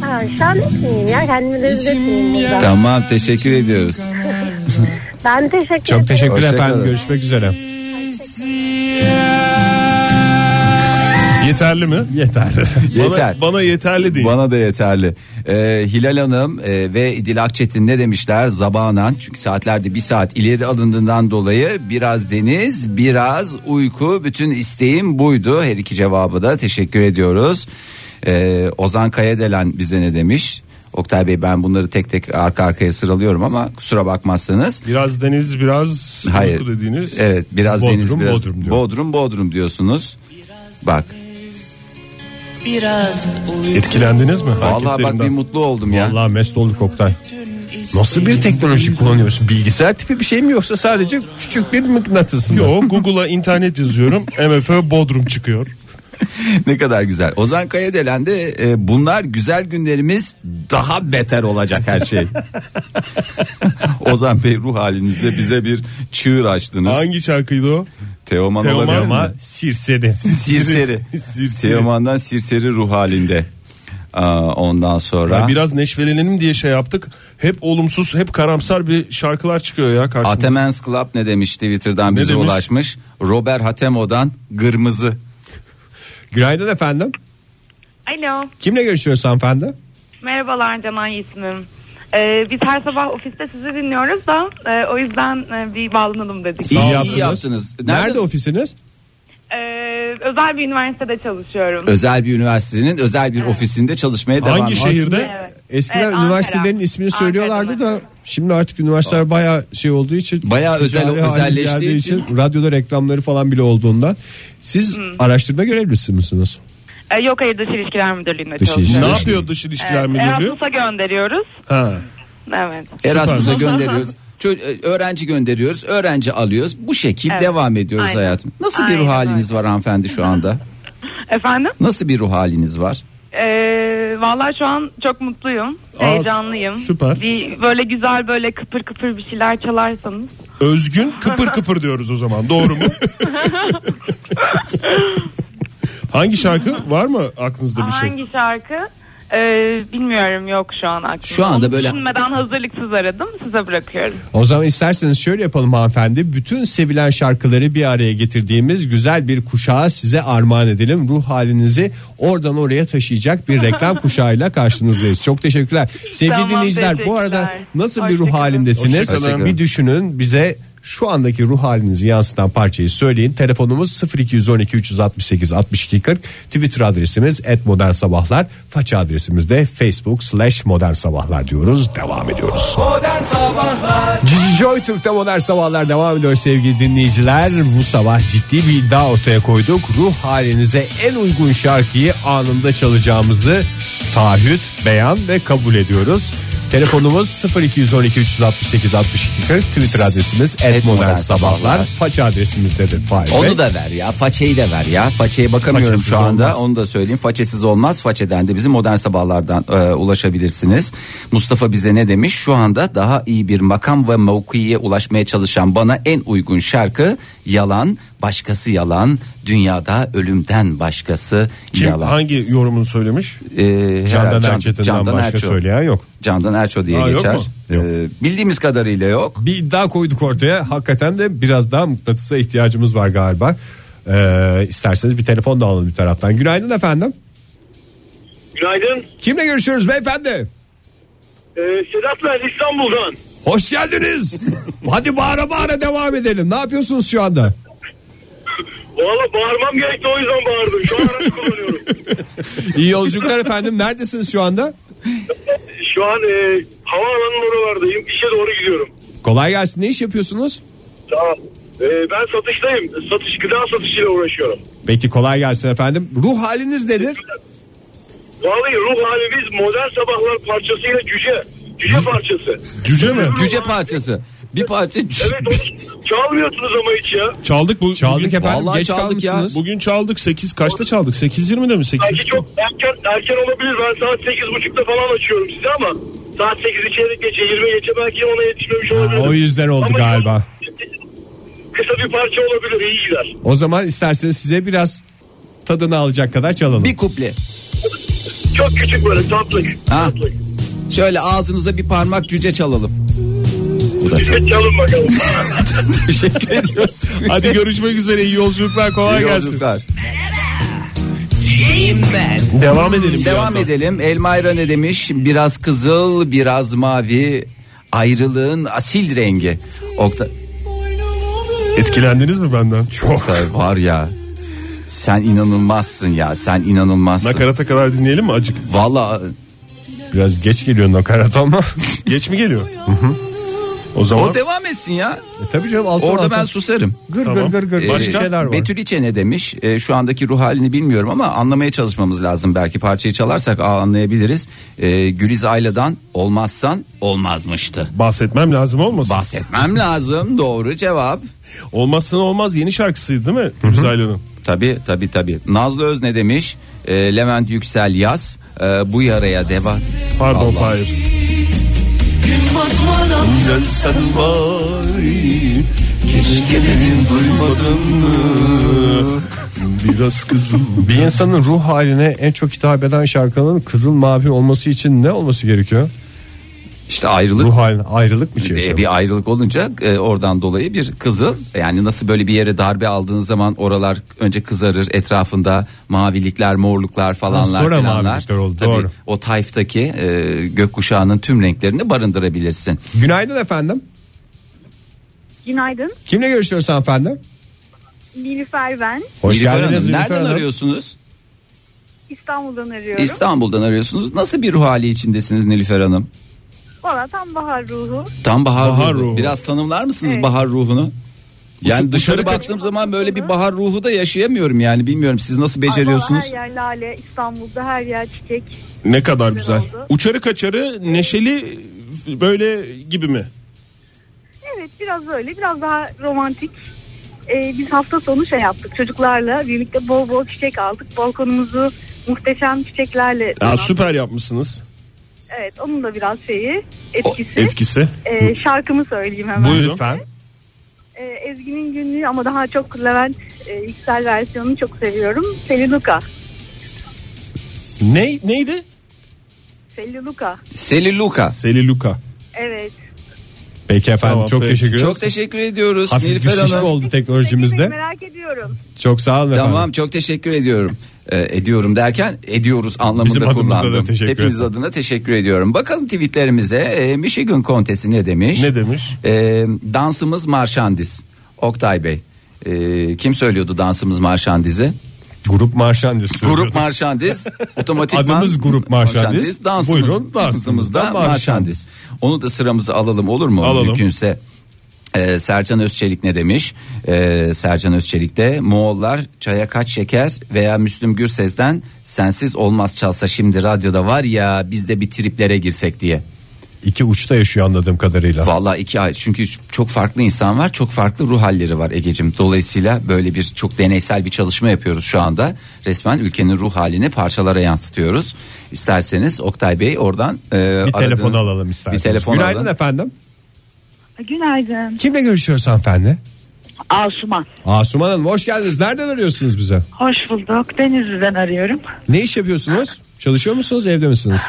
Ha, şahnesiyim ya kendimi rezil burada.
Tamam teşekkür ediyoruz.
Ben teşekkür
Çok
ederim.
teşekkür
Hoşça
efendim.
kalın.
Görüşmek üzere.
Yeterli mi?
Yeter.
Bana-
Yeter.
Bana, yeterli değil.
Bana da yeterli. Ee, Hilal Hanım e, ve Dilak Çetin ne demişler? Zabanan. Çünkü saatlerde bir saat ileri alındığından dolayı biraz deniz, biraz uyku. Bütün isteğim buydu. Her iki cevabı da teşekkür ediyoruz. Ee, Ozan Kayadelen bize ne demiş? Oktay Bey ben bunları tek tek arka arkaya sıralıyorum ama kusura bakmazsanız.
Biraz deniz biraz uyku dediğiniz.
Evet, biraz
Bodrum,
deniz biraz
Bodrum diyor.
Bodrum Bodrum diyorsunuz. Bak,
Biraz uyku
Etkilendiniz mi?
vallahi bak bir
hareketlerinden?
mutlu oldum ya.
Vallahi mest olduk Oktay.
dün
Nasıl bir teknoloji kullanıyorsun? Bilgisayar tipi bir şey mi yoksa sadece küçük bir mıknatıs mı?
Yo Google'a internet yazıyorum. MFÖ Bodrum çıkıyor.
ne kadar güzel. Ozan Kayadelen de e, bunlar güzel günlerimiz daha beter olacak her şey. Ozan Bey ruh halinizde bize bir çığır açtınız.
Hangi şarkıydı o?
Teoman, olabilir mi?
Teoman Sirseri.
Sirseri. Teoman'dan Sirseri ruh halinde. Aa, ondan sonra
Ya biraz neşvelenelim diye şey yaptık. Hep olumsuz, hep karamsar bir şarkılar çıkıyor ya karşımıza.
Atemens Club ne demiş Twitter'dan bize
demiş?
ulaşmış. Robert Hatemo'dan kırmızı.
Günaydın efendim.
Alo.
Kimle görüşüyoruz hanımefendi?
Merhabalar Canan Yeşim'im. Ee, biz her sabah ofiste sizi dinliyoruz da e, o yüzden e, bir bağlanalım dedik.
İyi, iyi
yaptınız.
yaptınız.
Nerede, ofisiniz?
Ee, özel bir üniversitede çalışıyorum.
Özel bir üniversitenin özel bir ofisinde çalışmaya devam.
Hangi
ediyor.
şehirde?
Evet.
Eskiden
Evet, Ankara.
üniversitelerin ismini
Ankara'da.
söylüyorlardı da şimdi artık üniversiteler bayağı şey olduğu için
Bayağı özel-
ticari hale
özelleştiği
geldiği
için.
radyoda reklamları falan bile olduğundan siz araştırma görevlisi misiniz?
Ee, yok hayır dış ilişkiler müdürlüğünde
Dış
çalışıyorum.
Ne
ilişkiler.
yapıyor dış
Ee,
ilişkiler
Evet,
müdürlüğü?
Erasmus'a gönderiyoruz.
Ha.
Evet.
Erasmus'a gönderiyoruz. Çö- e, öğrenci gönderiyoruz, öğrenci alıyoruz. Bu şekil
Evet.
devam ediyoruz
Aynen.
hayatım. Nasıl bir
Aynen
ruh haliniz var hanımefendi şu anda?
Efendim?
Nasıl bir ruh haliniz var?
Ee, Valla şu an çok mutluyum.
Aa,
Heyecanlıyım.
süper.
Bir, böyle güzel böyle kıpır kıpır bir şeyler çalarsanız.
Özgün kıpır kıpır diyoruz o zaman. Doğru mu? Hangi şarkı? Var mı aklınızda bir şey?
Hangi şarkı? Ee, bilmiyorum yok şu an aklımda.
Şu anda
Onu
böyle-
Düşünmeden hazırlıksız aradım size bırakıyorum.
O zaman isterseniz şöyle yapalım hanımefendi. Bütün sevilen şarkıları bir araya getirdiğimiz güzel bir kuşağı size armağan edelim. Ruh halinizi oradan oraya taşıyacak bir reklam kuşağıyla karşınızdayız. Çok teşekkürler. Sevgili
Tamam,
dinleyiciler bu
teşekkürler.
arada nasıl bir
Hoşçakalın.
ruh halindesiniz?
Hoşçakalın.
Bir düşünün bize şu andaki ruh halinizi yansıtan parçayı söyleyin. Telefonumuz 0212 368 62 40. Twitter adresimiz @modernsabahlar. sabahlar. Faça adresimiz de facebook slash modern sabahlar diyoruz. Devam ediyoruz. Cici Joy Türk'te modern sabahlar devam ediyor sevgili dinleyiciler. Bu sabah ciddi bir iddia ortaya koyduk. Ruh halinize en uygun şarkıyı anında çalacağımızı taahhüt, beyan ve kabul ediyoruz. Telefonumuz 0212 368 62 40 Twitter adresimiz @modernsabahlar. Faça adresimiz de Fahir Bey.
Onu da ver ya, façeyi de ver ya. Façeye bakamıyorum
Façesiz
şu anda.
olmaz.
Onu da söyleyeyim. Façesiz olmaz. Façeden de bizim modern sabahlardan e, ulaşabilirsiniz. Mustafa bize ne demiş? Şu anda daha iyi bir makam ve mevkiye ulaşmaya çalışan bana en uygun şarkı Yalan, Başkası Yalan, Dünyada Ölümden Başkası
Kim,
Yalan.
hangi yorumunu söylemiş?
Ee, herhalde
Candan
Can-
Erçetin'den
Candan
başka
Erço.
söyleyen yok.
Candan Erço diye
Aa, yok
geçer.
mu?
Ee, bildiğimiz kadarıyla yok.
Bir iddia koyduk ortaya. Hakikaten de biraz daha mıknatısa ihtiyacımız var galiba. Ee, isterseniz bir telefon da alalım bir taraftan. Günaydın efendim.
Günaydın.
Kimle görüşüyoruz beyefendi?
Ee, Sedat ben İstanbul'dan.
Hoş geldiniz. Hadi bağıra bağıra devam edelim. Ne yapıyorsunuz şu anda?
Valla bağırmam gerekti o yüzden bağırdım. Şu an araç kullanıyorum.
İyi yolculuklar efendim. Neredesiniz şu anda?
Şu an e, havaalanının oralardayım. İşe doğru gidiyorum.
Kolay gelsin. Ne iş yapıyorsunuz?
Tamam. E, ben satıştayım. Satış, gıda satışıyla uğraşıyorum.
Peki kolay gelsin efendim. Ruh haliniz nedir?
Vallahi ruh halimiz modern sabahlar parçasıyla cüce. Cüce parçası.
Cüce mi?
Cüce parçası. Bir parça
Evet onu çalmıyorsunuz ama hiç ya.
Çaldık bu.
Çaldık
bugün,
efendim.
Vallahi
Geç
çaldık ya.
kalmışsınız.
Bugün çaldık 8 kaçta çaldık? 8.20'de mi? 8.
Belki çok erken, erken olabilir. Ben saat 8.30'da falan açıyorum size ama saat 8'i çeyrek geçe 20'ye geçe belki ona yetişmemiş olabilirim.
O yüzden oldu
Ama
galiba.
Kısa bir parça olabilir iyi gider.
O zaman isterseniz size biraz tadını alacak kadar çalalım.
bir kuple.
Çok küçük böyle tatlık.
Ha.
Tatlık.
Şöyle ağzınıza bir parmak cüce çalalım. Bu da çok
Cüce çalın bakalım.
teşekkür ediyoruz.
Hadi görüşmek üzere. iyi yolculuklar. Kolay
İyi
gelsin.
yolculuklar.
Devam edelim. bir
Devam edelim. Elmayra ne demiş? Biraz kızıl, biraz mavi. Ayrılığın asil rengi. Okta
Etkilendiniz mi benden? Çok.
Oktay var ya. Sen inanılmazsın ya. Sen inanılmazsın.
Nakarata kadar dinleyelim mi acık?
Vallahi
Biraz geç geliyor nakarat ama.
Geç mi geliyor? O zaman
O devam etsin ya.
E, tabii canım altın
Orada
altın.
ben susarım.
Gır
Tamam.
gır gır gır.
Ee,
Başka şeyler var.
Betül İçe ne demiş? Ee, şu andaki ruh halini bilmiyorum ama anlamaya çalışmamız lazım. Belki parçayı çalarsak aa, anlayabiliriz. Ee, Güliz Ayla'dan olmazsan olmazmıştı.
bahsetmem lazım olmasın.
Bahsetmem lazım doğru cevap.
Olmazsan olmaz yeni şarkısıydı değil mi? Gürbüz Aylan'ın.
Tabi tabi tabi. Nazlı Öz ne demiş? Ee, Levent Yüksel yaz. Ee, bu yaraya devam.
Pardon
Allah.
Fahir.
Gün batmadan
Sen bari
keşke dedim duymadım
biraz kızım.
Bir insanın ruh haline en çok hitap eden şarkının kızıl mavi olması için ne olması gerekiyor?
İşte ayrılık. Ee,
Ruh haline ayrılık mı
Bir de
şey?
bir ayrılık olunca e, oradan dolayı bir kızıl yani nasıl böyle bir yere darbe aldığın zaman oralar önce kızarır etrafında mavilikler morluklar falanlar
sonra
filanlar.
mavilikler oldu,
Tabii
doğru.
O tayftaki e, gökkuşağının tüm renklerini barındırabilirsin.
Günaydın efendim.
Günaydın.
Kimle görüşüyoruz efendim?
Nilüfer ben.
Hoş
Nilüfer
geldiniz.
Hanım,
Nilüfer
nereden
Hanım.
arıyorsunuz?
İstanbul'dan arıyorum.
İstanbul'dan arıyorsunuz. Nasıl bir ruh hali içindesiniz Nilüfer Hanım?
Valla tam bahar ruhu.
Tam bahar,
Bahar
ruhu.
ruhu.
Biraz tanımlar mısınız
Evet.
bahar ruhunu? Yani
Uçuk-
dışarı
uçarı kaç-
baktığım zaman böyle bir bahar ruhu da yaşayamıyorum yani bilmiyorum siz nasıl
Ay,
beceriyorsunuz?
Valla her yer lale. İstanbul'da her yer çiçek.
Ne kadar güzel.
oldu.
Uçarı kaçarı neşeli böyle gibi mi?
Evet biraz öyle. Biraz daha romantik. Ee, biz hafta sonu şey yaptık. Çocuklarla birlikte bol bol çiçek aldık. Balkonumuzu muhteşem çiçeklerle
Aa,
donattık.
süper yapmışsınız.
Evet onun da biraz şeyi
O e-
etkisi.
etkisi.
Ee, şarkımı söyleyeyim hemen.
Buyurun.
Ee, Ezgi'nin günlüğü ama daha çok Levent e, Yüksel versiyonunu çok seviyorum. Selinuka.
Ne neydi?
Selinuka.
Selin Luka.
Seli Luka.
Evet.
Peki efendim
Tamam,
çok
peki.
teşekkür ederiz.
Çok teşekkür ediyoruz
Hafif bir
Nilüfer
şişme
Hanım.
oldu
Peki,
teknolojimizde.
Merak ediyorum.
Çok sağ olun efendim.
Tamam çok teşekkür ediyorum. Ee, ediyorum derken ediyoruz anlamında
Bizim adımıza da
kullandım.
teşekkür
Hepiniz
ederim.
adına teşekkür ediyorum. Bakalım tweetlerimize e, Michigan kontesi ne demiş?
Ne demiş?
Ee, dansımız marşandiz. Oktay Bey. Ee, kim söylüyordu dansımız marşandizi?
Grup marşandiz.
Grup marşandiz. Otomatikman
Adımız Grup Marşandiz.
Dansımız,
Buyurun,
dansımız da
dansımız da
marşandiz. Onu da sıramızı alalım olur mu?
Alalım.
Mümkünse. Ee, Sercan Özçelik ne demiş? Ee, Sercan Özçelik de Moğollar çaya kaç şeker veya Müslüm Gürses'den sensiz olmaz çalsa şimdi radyoda var ya biz de bir triplere girsek diye.
İki uçta yaşıyor anladığım kadarıyla.
Vallahi iki ay çünkü çok farklı insan var çok farklı ruh halleri var Ege'cim. Dolayısıyla böyle bir çok deneysel bir çalışma yapıyoruz şu anda. Resmen ülkenin ruh halini parçalara yansıtıyoruz. İsterseniz Oktay Bey oradan e,
bir
aradığınız-
telefon alalım isterseniz.
Bir telefon
Günaydın
alalım.
efendim.
Günaydın.
Kimle görüşüyoruz hanımefendi?
Asuman.
Asuman Hanım hoş geldiniz. Nereden arıyorsunuz bize?
Hoş bulduk. Denizli'den arıyorum.
Ne iş yapıyorsunuz? Çalışıyor musunuz evde misiniz?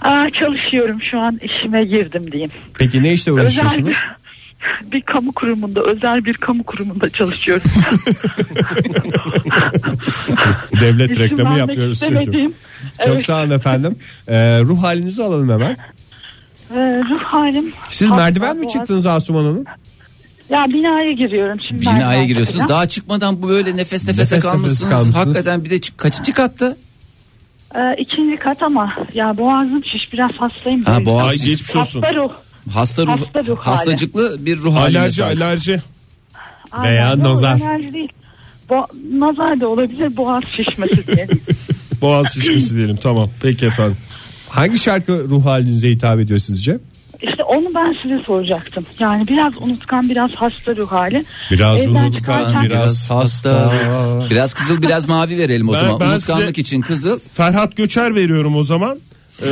Aa, çalışıyorum şu an işime girdim diyeyim.
Peki ne işle
Özel
uğraşıyorsunuz?
bir, bir kamu kurumunda, özel bir kamu kurumunda çalışıyorum.
Devlet
İsim
reklamı
vermek
yapıyoruz çünkü.
istemediğim,
Çok
evet,
sağ olun efendim. Ee, ruh halinizi alalım hemen.
e, ruh halim.
Siz
hasta,
merdiven mi
boğaz-
çıktınız Asuman Hanım?
Ya binaya giriyorum şimdi.
Binaya
merdiven
giriyorsunuz.
çıkacağım.
Daha çıkmadan bu böyle nefes nefese,
Nefes nefese
kalmışsınız.
kalmışsınız.
Hakikaten bir de çık- kaçıncı katta?
E, ikinci kat ama ya boğazım şiş biraz hastayım.
Ha,
böyle.
boğaz-
Ay
siz-
geçmiş olsun.
Hasta ruh.
Hasta ruh,
Hasta ruh hali.
hastacıklı bir ruh haline
Alerji
sahip.
alerji.
Aynen,
Veya
yok,
nazar.
alerji değil. Bo- nazar da olabilir boğaz şişmesi diye.
Boğaz şişmesi diyelim tamam. Peki efendim.
Hangi şarkı ruh halinize hitap ediyor sizce?
İşte onu ben size soracaktım. Yani biraz unutkan, biraz hasta ruh hali.
Biraz
Evden
unutkan,
çıkarken-
biraz hasta.
Biraz kızıl biraz mavi verelim o
Ben-
zaman.
ben
Unutkanlık
size-
için kızıl.
Ferhat Göçer veriyorum o zaman. Ee,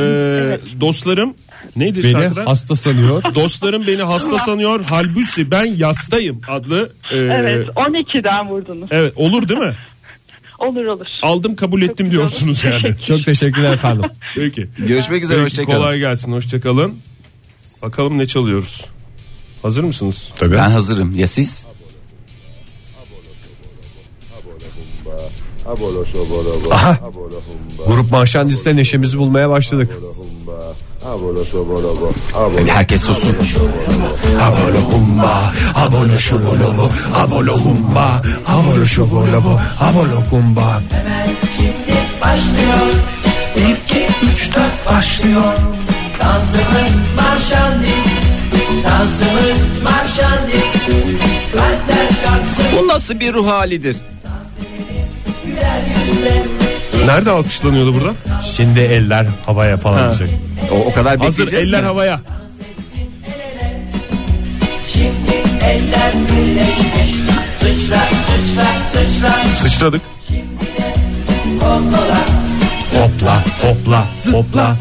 Dostlarım neydi
Beni
şarkıda?
hasta sanıyor.
Dostlarım beni hasta sanıyor. Halbuki ben yastayım adlı. e,
Ee,
Evet, 12'den vurdunuz.
evet, olur değil mi?
Olur olur.
Aldım kabul ettim
güzel.
diyorsunuz yani.
Çok teşekkürler efendim.
Peki.
Görüşmek üzere
Peki,
hoşçakalın.
Kolay gelsin hoşçakalın. Bakalım ne çalıyoruz. Hazır mısınız?
Tabii.
Ben hazırım. Ya siz?
Grup Marşandis'te neşemizi bulmaya başladık.
Herkes sussun.
Abolumba, abolo şubolobo, abolumba, abolo şubolobo, abolokumba.
Şimdi başlıyor Bir iki üç dört başlıyor Dansımız marşandiz Da Dansımız marşandiz Kalpler çarpsın
Bu nasıl bir ruh halidir?
güler yüzle
Nerede alkışlanıyordu burada?
Şimdi eller havaya falan
Ha.
diyecek.
O, o kadar
Hazır
bekleyeceğiz
eller
mi?
havaya.
Şimdi eller birleşmiş Sıçra sıçra sıçra
Sıçradık.
Hopla hopla hopla.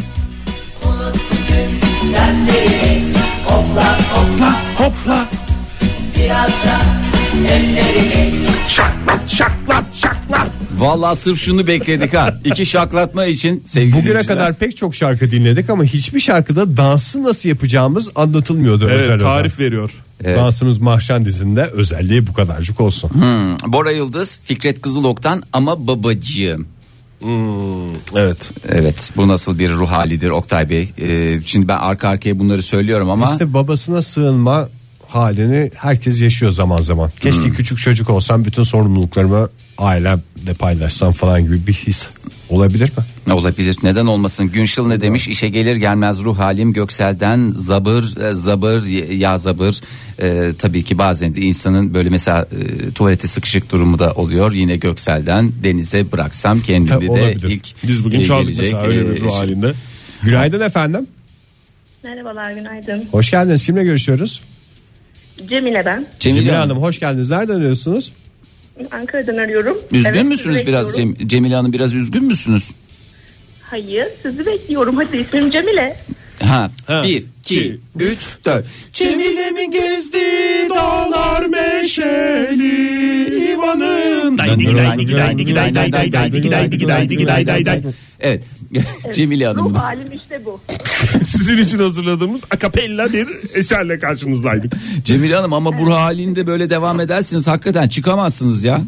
Vallahi sırf şunu bekledik ha. İki şaklatma için sevgili
Bugüne
dinleyiciler.
kadar pek çok şarkı dinledik ama hiçbir şarkıda dansı nasıl yapacağımız anlatılmıyordu.
Evet
özel
tarif
olarak.
veriyor.
Dansımız marşandizinde özelliği bu kadarcık olsun.
Bora Yıldız, Fikret Kızılok'tan ama babacığım.
Evet.
Evet bu nasıl bir ruh halidir Oktay Bey? Ee, şimdi ben arka arkaya bunları söylüyorum ama
İşte babasına sığınma halini herkes yaşıyor zaman zaman. Keşke
Hmm.
küçük çocuk olsam bütün sorumluluklarımı ailemle paylaşsam falan gibi bir his olabilir mi?
ne olabilir neden olmasın? Günşil ne demiş? İşe gelir gelmez ruh halim Göksel'den zabır e, zabır y- ya zabır. Ee, tabii ki bazen de insanın böyle mesela e, tuvalete sıkışık durumu da oluyor. Yine Göksel'den denize bıraksam kendimi de
olabilir.
ilk
Biz bugün
e,
çaldık
gelecek,
mesela öyle
e,
bir ruh
şey-
halinde.
Günaydın efendim.
Merhabalar günaydın.
Hoş geldiniz. Kimle görüşüyoruz?
Cemile ben.
Cemile
Cemile
Hanım.
Hanım hoş geldiniz. Nereden arıyorsunuz?
Ankara'dan arıyorum.
Üzgün
Evet,
müsünüz
sizi
biraz
bekliyorum.
Cem- Cemile Hanım biraz üzgün müsünüz?
Hayır sizi bekliyorum. Hadi ismim Cemile.
Ha,
Ha.
bir, iki,
İki,
üç, dört.
Cemile mi gezdi dağlar meşeli İvan'ın
Evet. Cemile Hanım.
Ruh halim işte bu.
Sizin için hazırladığımız akapella bir eserle karşınızdaydık.
Cemile Hanım ama bu halinde böyle devam edersiniz hakikaten çıkamazsınız ya.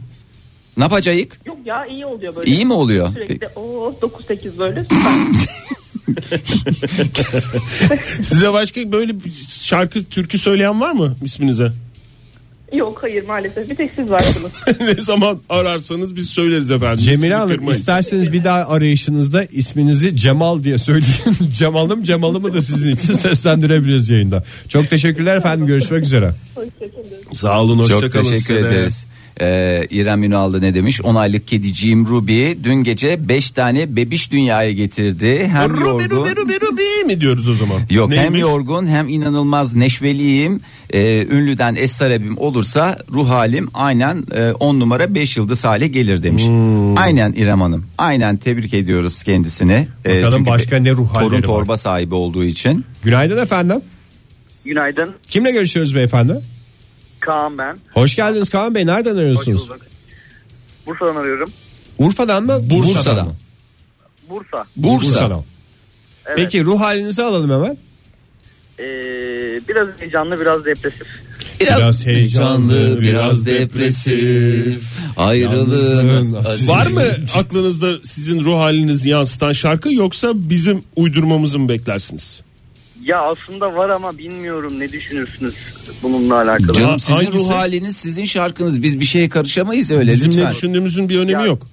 Ne yapacağız?
Yok ya iyi oluyor böyle.
İyi mi oluyor?
Sürekli o 9-8 böyle.
Size başka böyle bir şarkı türkü söyleyen var mı isminize?
Yok hayır maalesef bir tek siz varsınız.
ne zaman ararsanız biz söyleriz efendim. Sizi
Cemile Hanım
kırmayız.
isterseniz bir daha arayışınızda isminizi Cemal diye söyleyin. Cemal'ım Cemal'ımı da sizin için seslendirebiliriz yayında. Çok teşekkürler efendim. Görüşmek üzere.
Hoşçakalın.
Sağ olun hoşça
Çok
kalın
teşekkür
size de.
ederiz. Ee, İrem Ünal da ne demiş? 10 aylık kediciğim Ruby dün gece 5 tane bebiş dünyaya getirdi. Hem
Rubi
yorgun.
rubi rubi rubi mi diyoruz o zaman?
Yok hem
Neymiş?
yorgun hem inanılmaz neşveliyim. Ee, ünlüden es talebim olursa ruh halim aynen 10 numara 5 yıldız hale gelir demiş.
Hmm.
Aynen İrem Hanım. Aynen tebrik ediyoruz kendisini. Ee,
Bakalım başka
bir
ne ruh halleri
Torun
var?
torba sahibi olduğu için.
Günaydın efendim.
Günaydın.
Kimle görüşüyoruz beyefendi?
Kaan ben.
Hoş geldiniz Kaan Bey. Nereden arıyorsunuz?
Bursa'dan arıyorum.
Urfa'dan mı?
Bursa'dan.
mı?
Bursa.
Bursa.
Bursa'dan.
Evet.
Peki ruh halinizi alalım hemen.
Ee, biraz heyecanlı biraz depresif.
Biraz,
Biraz heyecanlı, biraz depresif. Yalnızlığın acısı.
Var mı aklınızda sizin ruh halinizi yansıtan şarkı yoksa bizim uydurmamızı mı beklersiniz?
Ya aslında var ama bilmiyorum ne düşünürsünüz bununla alakalı.
Canım
Ha-
sizin
hangisi?
ruh haliniz, sizin şarkınız. Biz bir şeye karışamayız öyle
Bizim ne
lütfen.
düşündüğümüzün bir önemi
Ya-
yok.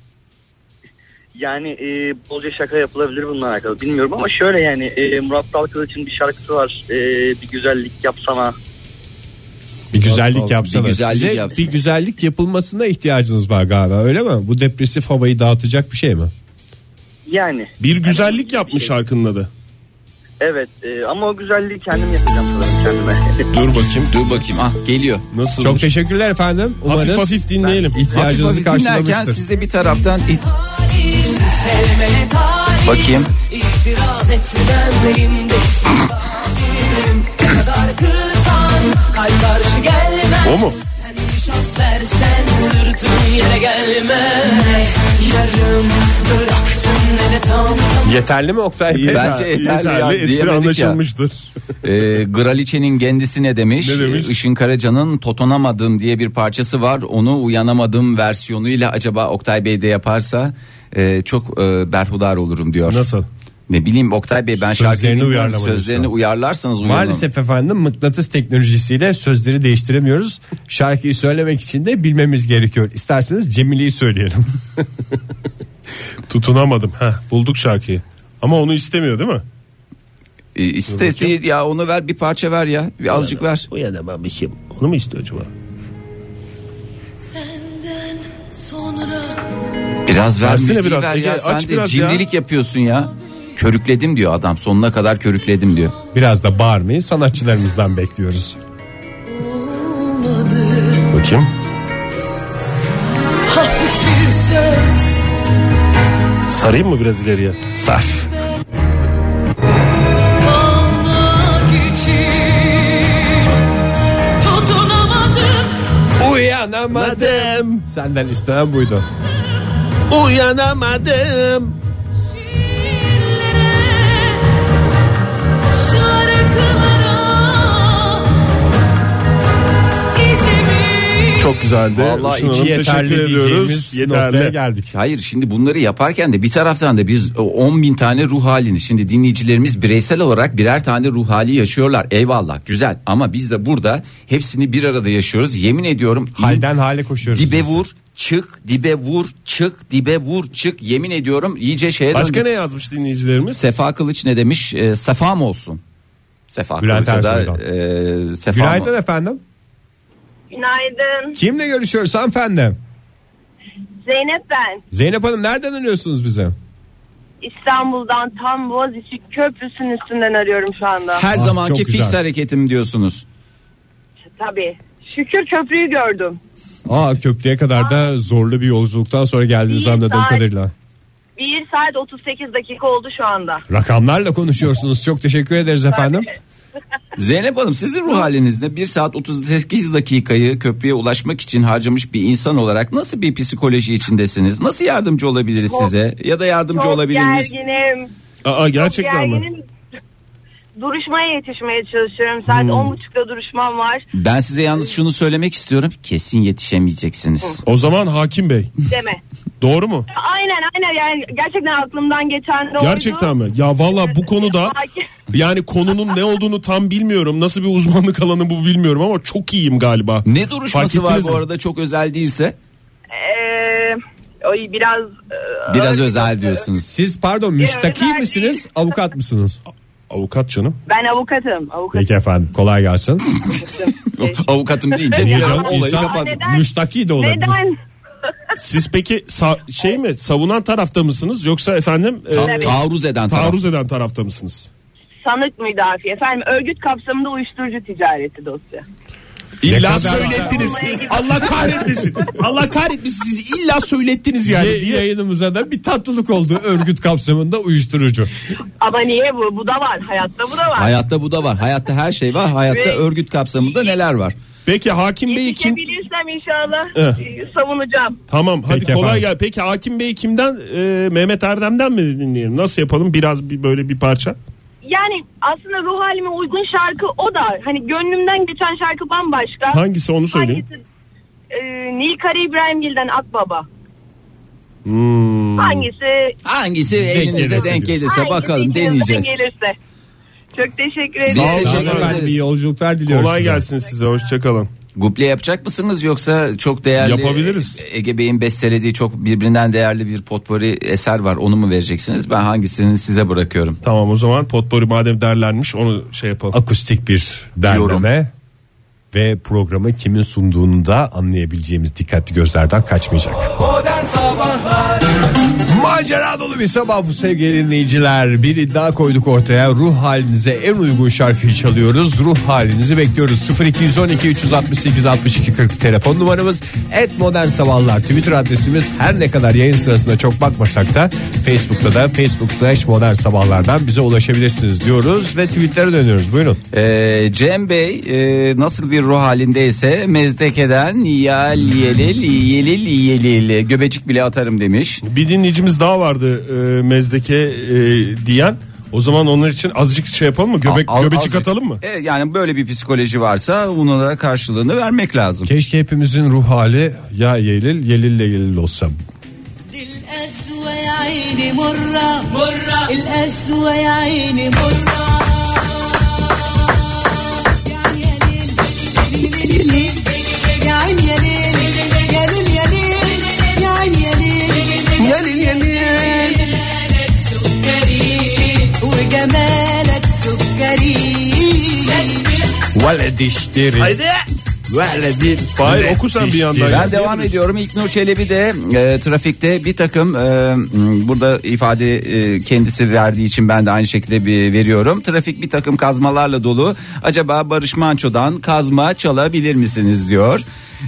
Yani e, bolca şaka yapılabilir bununla alakalı bilmiyorum ama şöyle yani e, Murat Dalkılıç'ın bir şarkısı var. E, bir güzellik yapsana.
Bir güzellik yapsana.
Bir güzellik
Size
yapsana.
bir güzellik yapılmasına ihtiyacınız var galiba öyle mi? Bu depresif havayı dağıtacak bir şey mi?
Yani
Bir güzellik yapmış şarkının adı.
evet e, ama o güzelliği kendim yapacağım sanırım kendime.
Dur bakayım.
Dur bakayım. Ah geliyor.
Nasıl?
Çok teşekkürler efendim. Umarız
Hafif hafif dinleyelim.
Hafif
ihtiyacınızı
hafif dinlerken
karşılamıştır.
siz de bir taraftan it-
Sizi sevmene tarih
Bakayım.
İtiraz etsin benliğinde istihdamım kadar kırsan Kalp karşı gelmez
O mu?
Sen bir şans versen sırtın yere gelmez Yarım bıraktın ne de tam
Yeterli mi Oktay Bey?
Bence yeterli ya,
espri
diyemedik
anlaşılmıştır.
E, Graliçe'nin kendisi ne demiş?
Ne demiş?
E, Işın Karaca'nın Totonamadım diye bir parçası var. Onu uyanamadım versiyonuyla acaba Oktay Bey de yaparsa e, çok e, berhudar olurum diyor.
Nasıl?
Ne bileyim Oktay Bey ben
Sözlerini
şarkıyı bilmiyorum.
uyarlamadın
Sözlerini
şu an.
uyarlarsanız uyanın.
Maalesef efendim mıknatıs teknolojisiyle sözleri değiştiremiyoruz. Şarkıyı söylemek için de bilmemiz gerekiyor. İsterseniz Cemile'yi söyleyelim.
Tutunamadım. Heh, bulduk şarkıyı. Ama onu istemiyor değil mi?
E, iste değil ya onu ver bir parça ver ya. Bir azıcık ver.
Bu ya da ben bir şey. Onu mu istiyor acaba?
Senden sonra
Biraz ver
Versene
müziği
biraz,
ver
Ege,
ya. Sen
aç
de
biraz ya.
cimrilik yapıyorsun ya. Körükledim diyor adam sonuna kadar körükledim diyor.
Biraz da bağırmayı sanatçılarımızdan bekliyoruz. Bakayım.
hafif bir söz
Sarayım mı biraz ileriye?
Sar.
kalmak için tutunamadım
Uyanamadım.
Madem
Senden istenen buydu.
uyanamadım.
şarkılara izimi
Çok güzeldi.
Vallahi
Işın
içi
Hanım,
yeterli
teşekkür
diyeceğimiz noktaya
Yeterli.
geldik.
Hayır şimdi bunları yaparken de bir taraftan da biz 10 bin tane ruh halini şimdi dinleyicilerimiz bireysel olarak birer tane ruh hali yaşıyorlar eyvallah güzel ama biz de burada hepsini bir arada yaşıyoruz yemin ediyorum
Halden hale koşuyoruz.
dibe vur çık dibe vur çık dibe vur çık yemin ediyorum iyice şeye
Başka
döndük.
ne yazmış dinleyicilerimiz?
Sefa Kılıç ne demiş e, sefam olsun Sefa
Bülent
Kılıç'a da
Ersoy'dan.
e, sefam
Günaydın efendim.
Günaydın.
Kimle görüşüyoruz hanımefendi?
Zeynep ben.
Zeynep Hanım nereden arıyorsunuz bize?
İstanbul'dan tam Boğaziçi Köprüsü'nün üstünden arıyorum şu anda.
her
Ah,
zamanki
çok güzel.
fix hareketim diyorsunuz
Tabii. Şükür köprüyü gördüm.
Aa köprüye kadar da zorlu bir yolculuktan sonra geldiniz
Bir
anladığım
saat.
kadarıyla.
1 saat 38 dakika oldu şu anda.
Rakamlarla konuşuyorsunuz. Çok teşekkür ederiz efendim.
Zeynep Hanım sizin ruh halinizde 1 saat 38 dakikayı köprüye ulaşmak için harcamış bir insan olarak nasıl bir psikoloji içindesiniz? Nasıl yardımcı olabiliriz size? Ya da yardımcı
Çok
olabilir miyiz?
gerginim.
Aa
Çok
gerçekten mi?
gerginim. Duruşmaya yetişmeye çalışıyorum. Saat 10.30'da duruşmam var.
Ben size yalnız şunu söylemek istiyorum. Kesin yetişemeyeceksiniz.
O zaman Hakim Bey.
Deme.
Doğru mu?
aynen aynen yani gerçekten aklımdan geçen de
Gerçekten mi? Ya valla bu konuda yani konunun ne olduğunu tam bilmiyorum. Nasıl bir uzmanlık alanı bu bilmiyorum ama çok iyiyim galiba.
Ne duruşması
Fark
var
ettiniz
bu
mi?
arada çok özel değilse?
Eee, e, oy biraz e, eee,
Biraz özel diyorsunuz.
Siz pardon müstakil
özel
misiniz
değil.
avukat mısınız?
Avukat canım.
ben avukatım avukatım.
Peki efendim kolay gelsin.
Avukatım deyince
Niye
bir
canım?
an olayı
İnsan
kapat-
Neden?
müstakil de olabilir.
Neden?
Siz peki sa- şey mi savunan tarafta mısınız yoksa efendim e,
Ta- taarruz eden taraf.
taarruz eden tarafta mısınız?
Sanık müdafi efendim örgüt kapsamında uyuşturucu ticareti dosya.
İlla
kadar-
söylettiniz. Allah kahretmesin. Allah kahretmesin sizi illa söylettiniz yani
Ye-
diye.
yayınımıza da bir tatlılık oldu örgüt kapsamında uyuşturucu.
Ama niye bu? Bu da var. Hayatta bu da var.
Hayatta bu da var. Hayatta her şey var. Hayatta
Ve-
örgüt kapsamında neler var?
Peki Hakim Bey kim?
Yetişebilirsem inşallah
Eh.
e, savunacağım.
Tamam hadi
Peki
kolay
efendim.
gel. Peki Hakim Bey kimden? E, Mehmet Erdem'den mi dinleyelim? Nasıl yapalım? Biraz bir, böyle bir parça.
Yani aslında ruh halime uygun şarkı o da. Hani gönlümden geçen şarkı bambaşka.
Hangisi onu söyleyin.
Hangisi? Ee, Nilkara İbrahimgil'den Akbaba.
Hmm.
Hangisi?
Hangisi elinize
gelirse
denk
diyorsun.
gelirse
hangisi
bakalım
içinizden
deneyeceğiz.
Gelirse. Çok teşekkür
Sağ
ederim.
olun.
Sağ olun
ederiz.
efendim iyi yolculuklar diliyoruz.
Kolay
size.
gelsin size. Hoşçakalın.
Guple yapacak mısınız yoksa çok değerli
Yapabiliriz.
Ege Bey'in bestelediği çok birbirinden değerli bir potpori eser var onu mu vereceksiniz ben hangisini size bırakıyorum
Tamam o zaman potpori madem derlenmiş onu şey yapalım.
Akustik bir derleme ve programı kimin sunduğunu da anlayabileceğimiz dikkatli gözlerden kaçmayacak. Macera dolu bir sabah bu sevgili dinleyiciler. Bir iddia koyduk ortaya. Ruh halinize en uygun şarkıyı çalıyoruz. Ruh halinizi bekliyoruz. 0212 368 62 40 telefon numaramız. Et modern sabahlar Twitter adresimiz. Her ne kadar yayın sırasında çok bakmasak da Facebook'ta da Facebook slash modern sabahlardan bize ulaşabilirsiniz diyoruz ve tweetlere dönüyoruz. Buyurun.
Ee, Cem Bey e, nasıl bir ruh halindeyse mezdekeden yal yelil yelil yelil göbecik bile atarım demiş
Bir dinleyicimiz daha vardı e, mezdeke e, diyen. O zaman onlar için azıcık şey yapalım mı? Göbek,
Al-
göbecik
azıcık-
atalım mı?
Evet, E, yani böyle bir psikoloji varsa ona da karşılığını vermek lazım
Keşke hepimizin ruh hali ya yelil yelille yelil olsa.
الأسوى يا عيني مرة مرة الأسوى يا عيني مرة يا عين يا ليل، ليل، ليل، ليل، ليل، يا عين يا ليل، يا ليل، يا ليل، يا عين يا ليل، جمالك سكري وجمالك سكري
Vale dişleri.
Haydi.
Vale bir.
Fahir, oku sen bir yandan ya.
Ben devam ediyorum. İlknur Çelebi de e, trafikte bir takım e, m, burada ifade e, kendisi verdiği için ben de aynı şekilde bir veriyorum. Trafik bir takım kazmalarla dolu. Acaba Barış Manço'dan kazma çalabilir misiniz diyor.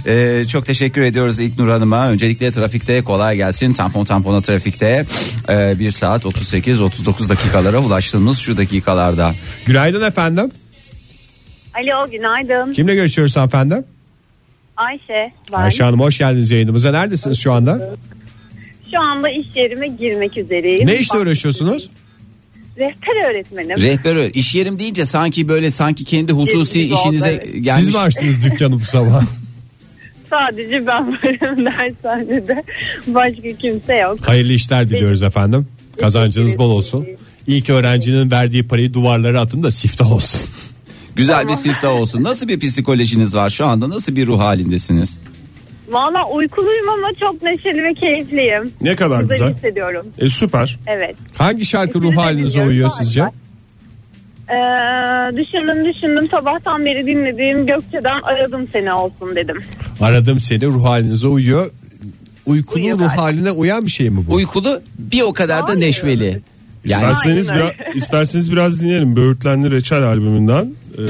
E, çok teşekkür ediyoruz İlknur Hanım'a. Öncelikle trafikte kolay gelsin. Tampon tampona trafikte e, 1 saat 38-39 dakikalara ulaştığımız şu dakikalarda.
Günaydın efendim.
Alo günaydın.
Kimle görüşüyoruz efendim?
Ayşe ben.
Ayşe Hanım hoş geldiniz yayınımıza. Neredesiniz şu anda?
Şu anda iş yerime girmek üzereyim.
Ne işle uğraşıyorsunuz?
Rehber öğretmenim.
Rehber ö- iş yerim deyince sanki böyle sanki kendi hususi
Gibi oldu,
işinize
evet.
gelmiş.
Siz mi açtınız dükkanı bu sabah?
Sadece ben varım dershanede. Başka kimse yok.
Hayırlı işler diliyoruz efendim. Kazancınız bol olsun. İlk öğrencinin verdiği parayı duvarlara atın da siftah olsun.
Güzel bir siftah olsun. Nasıl bir psikolojiniz var şu anda? Nasıl bir ruh halindesiniz?
Valla uykuluyum ama çok neşeli ve keyifliyim.
Ne kadar güzel.
hissediyorum.
E, süper.
Evet.
Hangi şarkı ruh
Sizi de
halinize
dinliyorum.
uyuyor
Sağ
sizce?
olun. Ee, düşündüm düşündüm sabahtan beri dinlediğim Gökçe'den aradım seni olsun dedim.
Aradım seni ruh halinize uyuyor. Uykulu
Uyuyor
ruh
galiba.
haline uyan bir şey mi bu?
Uykulu bir o kadar da
Hayır.
neşveli. Yani
İsterseniz,
Aynen
biraz, isterseniz biraz dinleyelim. Böğürtlenli Reçel albümünden. Ee,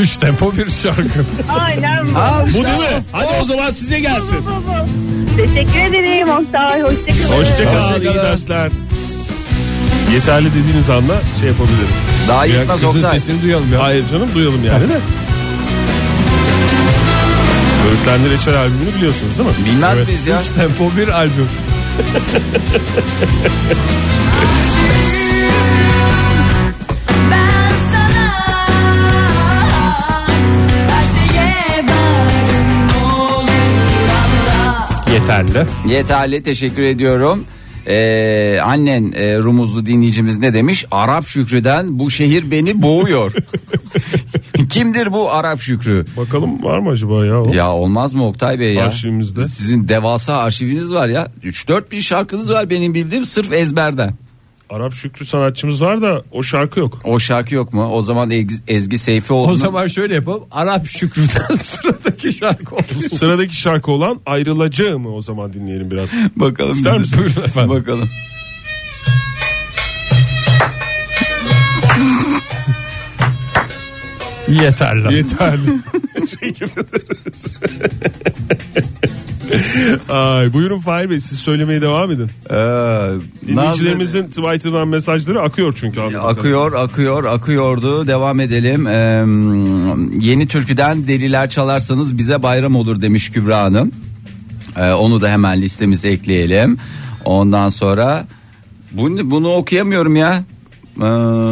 Üç tempo bir şarkı.
Aynen.
Al
bu
işte.
değil mi? Hadi o zaman size gelsin.
Teşekkür ederim Oktay. Hoşçakalın.
Hoşçakal.
Hoşça
İyi
kalın.
dersler. Yeterli dediğiniz anda şey yapabilirim.
Daha
Ya
yıkmaz
kızın
Oktay.
sesini duyalım ya. Hayır canım duyalım yani de. Böğürtlenli Reçel albümünü biliyorsunuz değil mi?
Bilmez miyiz ya?
Üç tempo bir albüm.
Ben sana her şeye varım ne olur anla.
Yeterli.
Yeterli teşekkür ediyorum. Ee, annen e, Rumuzlu dinleyicimiz ne demiş? Arap Şükrü'den bu şehir beni boğuyor. Kimdir bu Arap Şükrü?
Bakalım var mı acaba ya o?
Ya olmaz mı Oktay Bey ya?
Arşivimizde.
Sizin devasa arşiviniz var ya. 3-4 bin şarkınız var benim bildiğim sırf ezberden.
Arap Şükrü sanatçımız var da o şarkı yok.
O şarkı yok mu? O zaman Ezgi, Ezgi Seyfi
O zaman şöyle yapalım. Arap Şükrü'den sıradaki şarkı olsun.
Sıradaki şarkı olan Ayrılacağımı o zaman dinleyelim biraz.
bakalım.
İster
bize.
misiniz? Buyurun efendim.
Bakalım.
Yeterli.
Yeterli. Teşekkür ederiz. Ay, buyurun Fahir Bey siz söylemeye devam edin.
Ee,
Dinleyicilerimizin Twitter'dan mesajları akıyor çünkü.
Nazlı-
anladığım
akıyor akıyor akıyordu devam edelim Ee, yeni türküden deliler çalarsanız bize bayram olur demiş Kübra Hanım Ee, onu da hemen listemize ekleyelim ondan sonra bunu, bunu okuyamıyorum ya Ee,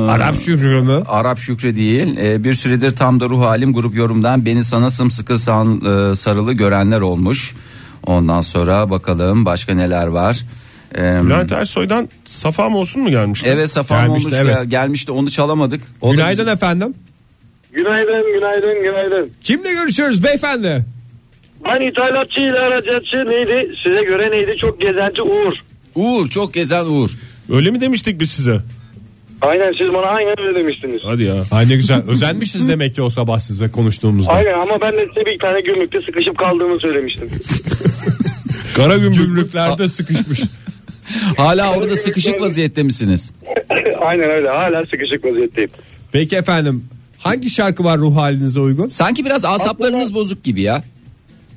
Arap Şükrü mü?
Arap Şükrü değil. Ee, bir süredir tam da ruh halim grup yorumdan beni sana sımsıkı san, e, sarılı görenler olmuş. Ondan sonra bakalım başka neler var. Ee,
kadarıyla. Bülent Ersoy'dan Safam olsun mu gelmişti?
evet Safan
Gelmişti,
olmuş
evet.
ya, gelmişti onu çalamadık. O da
Günaydın
bizim-
efendim.
Günaydın, günaydın, günaydın.
Kimle görüşüyoruz beyefendi?
Ben ithalatçıyla aracatçı neydi? Size göre neydi? Çok gezenci Uğur.
Uğur çok gezen Uğur.
Öyle mi demiştik biz size?
Aynen siz bana aynen öyle demiştiniz.
Hadi ya.
Ay ne güzel. Özenmişiz demek ki o sabah sizle konuştuğumuzda.
Aynen ama ben de size bir tane gümrükte sıkışıp kaldığımı söylemiştim.
Kara gümrüklerde sıkışmış.
Hala orada sıkışık vaziyette misiniz?
aynen öyle hala sıkışık vaziyetteyim.
Peki efendim. Hangi şarkı var ruh halinize uygun?
Sanki biraz asaplarınız bozuk gibi ya.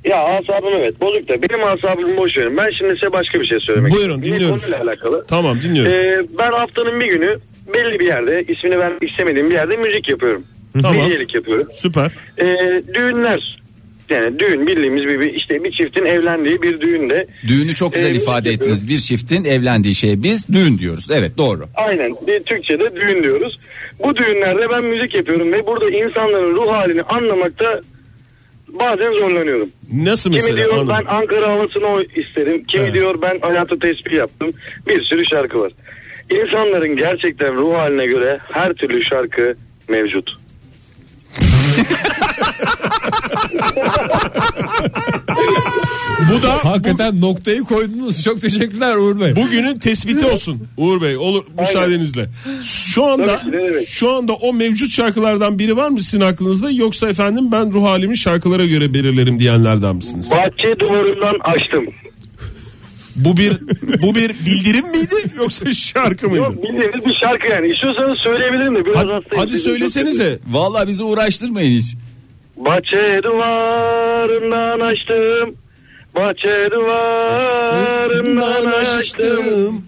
Ya asabım evet bozuk da benim asabımı boş verin. Ben şimdi size başka bir şey söylemek
Buyurun,
istiyorum. Yine
dinliyoruz.
konuyla alakalı.
Tamam dinliyoruz.
Ee, ben haftanın bir günü belli bir yerde ismini vermek istemediğim bir yerde müzik yapıyorum.
Tamam.
Medyelik yapıyorum.
Süper.
Ee, düğünler yani düğün bildiğimiz bir, bir- işte bir çiftin evlendiği bir düğünde
Düğünü çok güzel
Ee,
ifade
evet.
ettiniz. Bir çiftin evlendiği şeye biz düğün diyoruz. Evet doğru.
Aynen. Bir Türkçe'de düğün diyoruz. Bu düğünlerde ben müzik yapıyorum ve burada insanların ruh halini anlamakta bazen zorlanıyorum.
Nasıl
Kimi
mesela?
diyor
Anladım.
ben Ankara havasını o isterim. Kimi
Evet.
diyor ben hayatı tespih yaptım. Bir sürü şarkı var. İnsanların gerçekten ruh haline göre her türlü şarkı mevcut.
Bu da
Hakikaten noktayı koydunuz. Çok teşekkürler Uğur Bey.
Bugünün tespiti olsun Uğur Bey. Olur müsaadenizle. Şu anda
Tabii ki, ne demek.
şu anda o mevcut şarkılardan biri var mı sizin aklınızda yoksa efendim ben ruh halimi şarkılara göre belirlerim diyenlerden misiniz?
Bahçe duvarından açtım.
Bu bir bu bir bildirim miydi yoksa şarkı mıydı?
Yok bildiğiniz bir şarkı yani. İstiyorsanız söyleyebilirim de biraz
Hadi,
hastayım.
hadi söylesenize.
Vallahi bizi uğraştırmayın hiç.
Bahçe duvarından açtım. Bahçe duvarından açtım.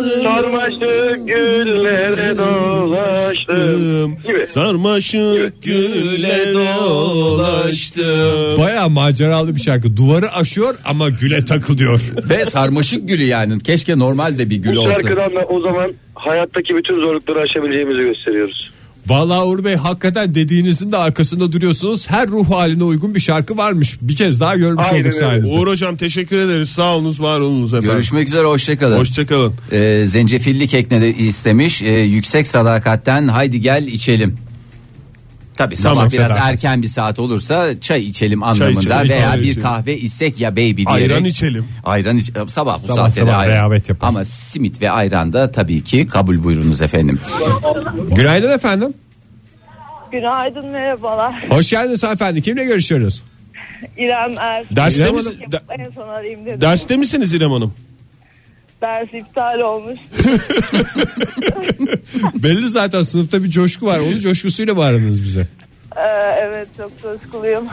Sarmaşık güllere dolaştım. Gibi.
Sarmaşık güle dolaştım.
Baya maceralı bir şarkı. Duvarı aşıyor ama güle takılıyor.
Ve sarmaşık gülü yani. Keşke normal de bir gül
Bu
olsa.
şarkıdan da o zaman hayattaki bütün zorlukları aşabileceğimizi gösteriyoruz.
Vallahi Uğur Bey hakikaten dediğinizin de arkasında duruyorsunuz. Her ruh haline uygun bir şarkı varmış. Bir kez daha görmüş
Aynen
olduk
öyle.
sayenizde.
Uğur hocam teşekkür ederiz. Sağ olunuz, var olunuz efendim.
Görüşmek üzere hoşçakalın.
Hoşçakalın.
Ee, zencefilli kekne de istemiş. Ee, yüksek sadakatten haydi gel içelim. Tabi sabah
Tamam,
biraz
sadakat.
erken bir saat olursa çay içelim anlamında
içelim,
veya
kahve
bir
içelim.
kahve içsek ya baby diyerek.
Ayran içelim.
Ayran iç sabah bu
Sabah
saatte de
sabah
ayran.
rehavet yapalım.
Ama simit ve ayran da tabii ki kabul buyurunuz efendim.
Günaydın efendim.
Günaydın merhabalar.
Hoş geldiniz hanımefendi. Kimle görüşüyoruz?
İrem Er.
Derste,
İrem
mis-
Hanım-
de-
En son arayayım dedim.
derste misiniz İrem Hanım?
Ders iptal olmuş.
Belli zaten sınıfta bir coşku var. Onun coşkusuyla bağırdınız bize.
Ee, evet çok coşkuluyum.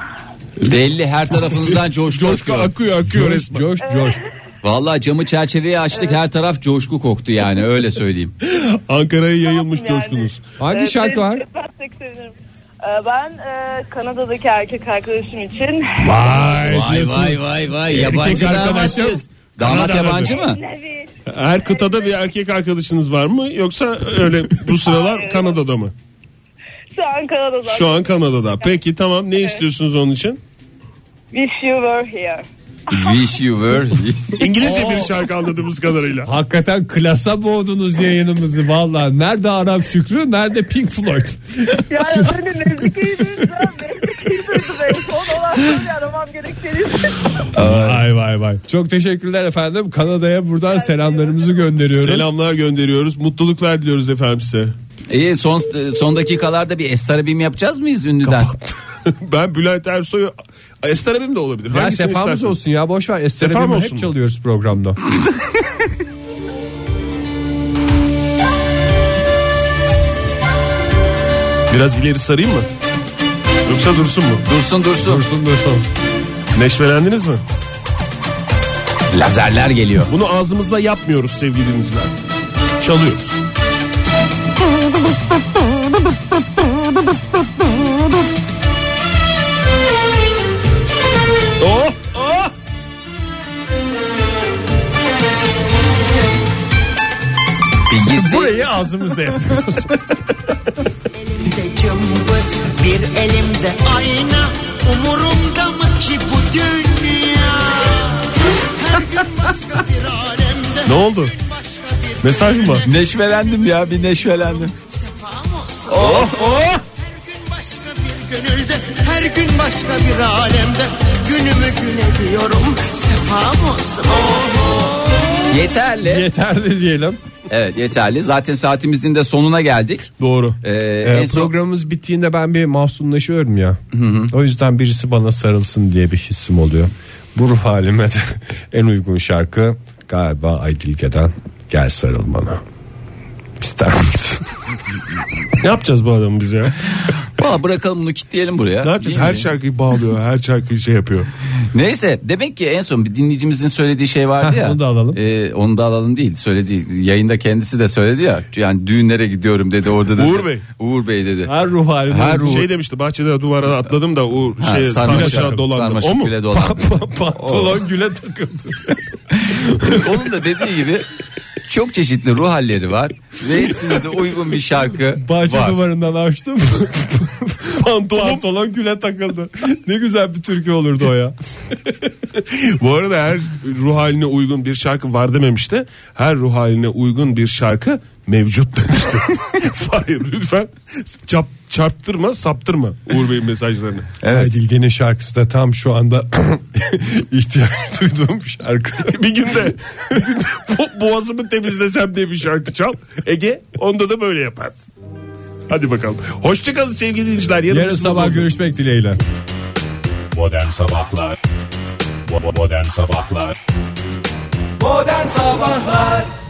Belli her tarafınızdan coşku
Coşku
akıyor.
akıyor akıyor
Coş,
resmen.
coş, coş.
Vallahi camı çerçeveye açtık her taraf coşku koktu yani öyle söyleyeyim.
Ankara'ya yayılmış
Yaptım yani.
coşkunuz.
Hangi
Ee,
şarkı
ben-
var?
Ben pek sevinirim. Ee, Ben e, Kanada'daki erkek arkadaşım için
Vay,
Vay vay vay vay yabancı
arkadaş yok.
damatız. Damat
Kanada
yabancı mı?
Nevi
Her kıtada bir erkek arkadaşınız var mı yoksa öyle bu sıralar Kanada'da mı?
şu an Kanada'da.
Şu an Kanada'da. Peki tamam ne istiyorsunuz onun için?
Wish you were here.
Wish you were.
İngilizce bir şarkı anladığımız kadarıyla.
Hakikaten klasa boğdunuz yayınımızı valla. Nerede Arap Şükrü, nerede Pink Floyd?
Yani hani ben de mezlikeyi duydum. Mezlikeyi duydum. En son olan böyle aramam gerektiğini.
vay vay vay. Çok teşekkürler efendim. Kanada'ya buradan selamlarımızı gönderiyoruz.
Selamlar gönderiyoruz. Mutluluklar diliyoruz efendim size.
İyi son son dakikalarda bir estarabim yapacağız mıyız ünlüden?
ben Bülent Ersoy'u Ester abim de olabilir.
Ya
Hangisini
sefamız
istersiniz?
olsun ya boş ver. Estere
Sefam
Bim'i
olsun
hep
mu?
çalıyoruz programda.
Biraz ileri sarayım mı? Yoksa dursun mu?
Dursun dursun.
dursun dursun.
Neşvelendiniz mi?
Lazerler geliyor.
Bunu ağzımızla yapmıyoruz sevgili dinleyiciler. Çalıyoruz. Oh, oh.
Bir girsin.
Burayı ağzımızla yapıyoruz.
Elimde cımbız bir elimde ayna Umurumda mı ki bu dünya Her gün başka bir alemde
ne oldu? Mesaj mı var?
Neşvelendim ya bir neşvelendim.
Oh oh Her gün başka bir gönülde Her gün başka bir alemde Günümü gün ediyorum Sefam olsun oh oh
Yeterli.
Yeterli diyelim.
evet yeterli. Zaten saatimizin de sonuna geldik.
Doğru.
Ee,
Ee,
en son
programımız bittiğinde ben bir mahzunlaşıyorum ya. O yüzden birisi bana sarılsın diye bir hissim oluyor. Bu ruh halime de en uygun şarkı galiba Aydilge'den Gel Sarıl Bana. İster misin?
Ne yapacağız bu adamı biz ya?
Valla bırakalım bunu kitleyelim buraya.
Ne yapacağız?
Değil
Her
mi?
şarkıyı bağlıyor, her şarkıyı şey yapıyor.
Neyse demek ki en son bir dinleyicimizin söylediği şey vardı
Heh,
ya.
onu da alalım.
Ee, onu da alalım değil. Söylediği yayında kendisi de söyledi ya. Yani düğünlere gidiyorum dedi orada dedi.
Uğur Bey.
Uğur Bey dedi.
Her ruh halime.
Her ruh-
Şey demişti bahçede duvara atladım da o
Ha,
şey
sarmaşık-
sarmaşığa dolandım.
sarmaşık
O mu?
güle dolandı.
Pantolon güle takıldı.
Onun da dediği gibi çok çeşitli ruh halleri var. Ve hepsinde de uygun bir şarkı
Bahçe
var.
duvarından açtım. pantolon, pantolon güle takıldı. Ne güzel bir türkü olurdu o ya.
Bu arada her ruh haline uygun bir şarkı var dememişti. Her ruh haline uygun bir şarkı mevcut demişti. Hayır lütfen çap, çarptırma saptırma Uğur Bey'in mesajlarını.
Evet. İlgen'in şarkısı da tam şu anda ihtiyaç duyduğum şarkı.
bir günde, bir günde bo- boğazımı temizlesem diye bir şarkı çal. Ege E, onda da böyle yaparsın. Hadi bakalım. Hoşçakalın sevgili dinleyiciler.
Yarın
bizim
sabah görüşmek dileğiyle.
Modern Sabahlar Bo- bo- Modern Sabahlar
Modern Sabahlar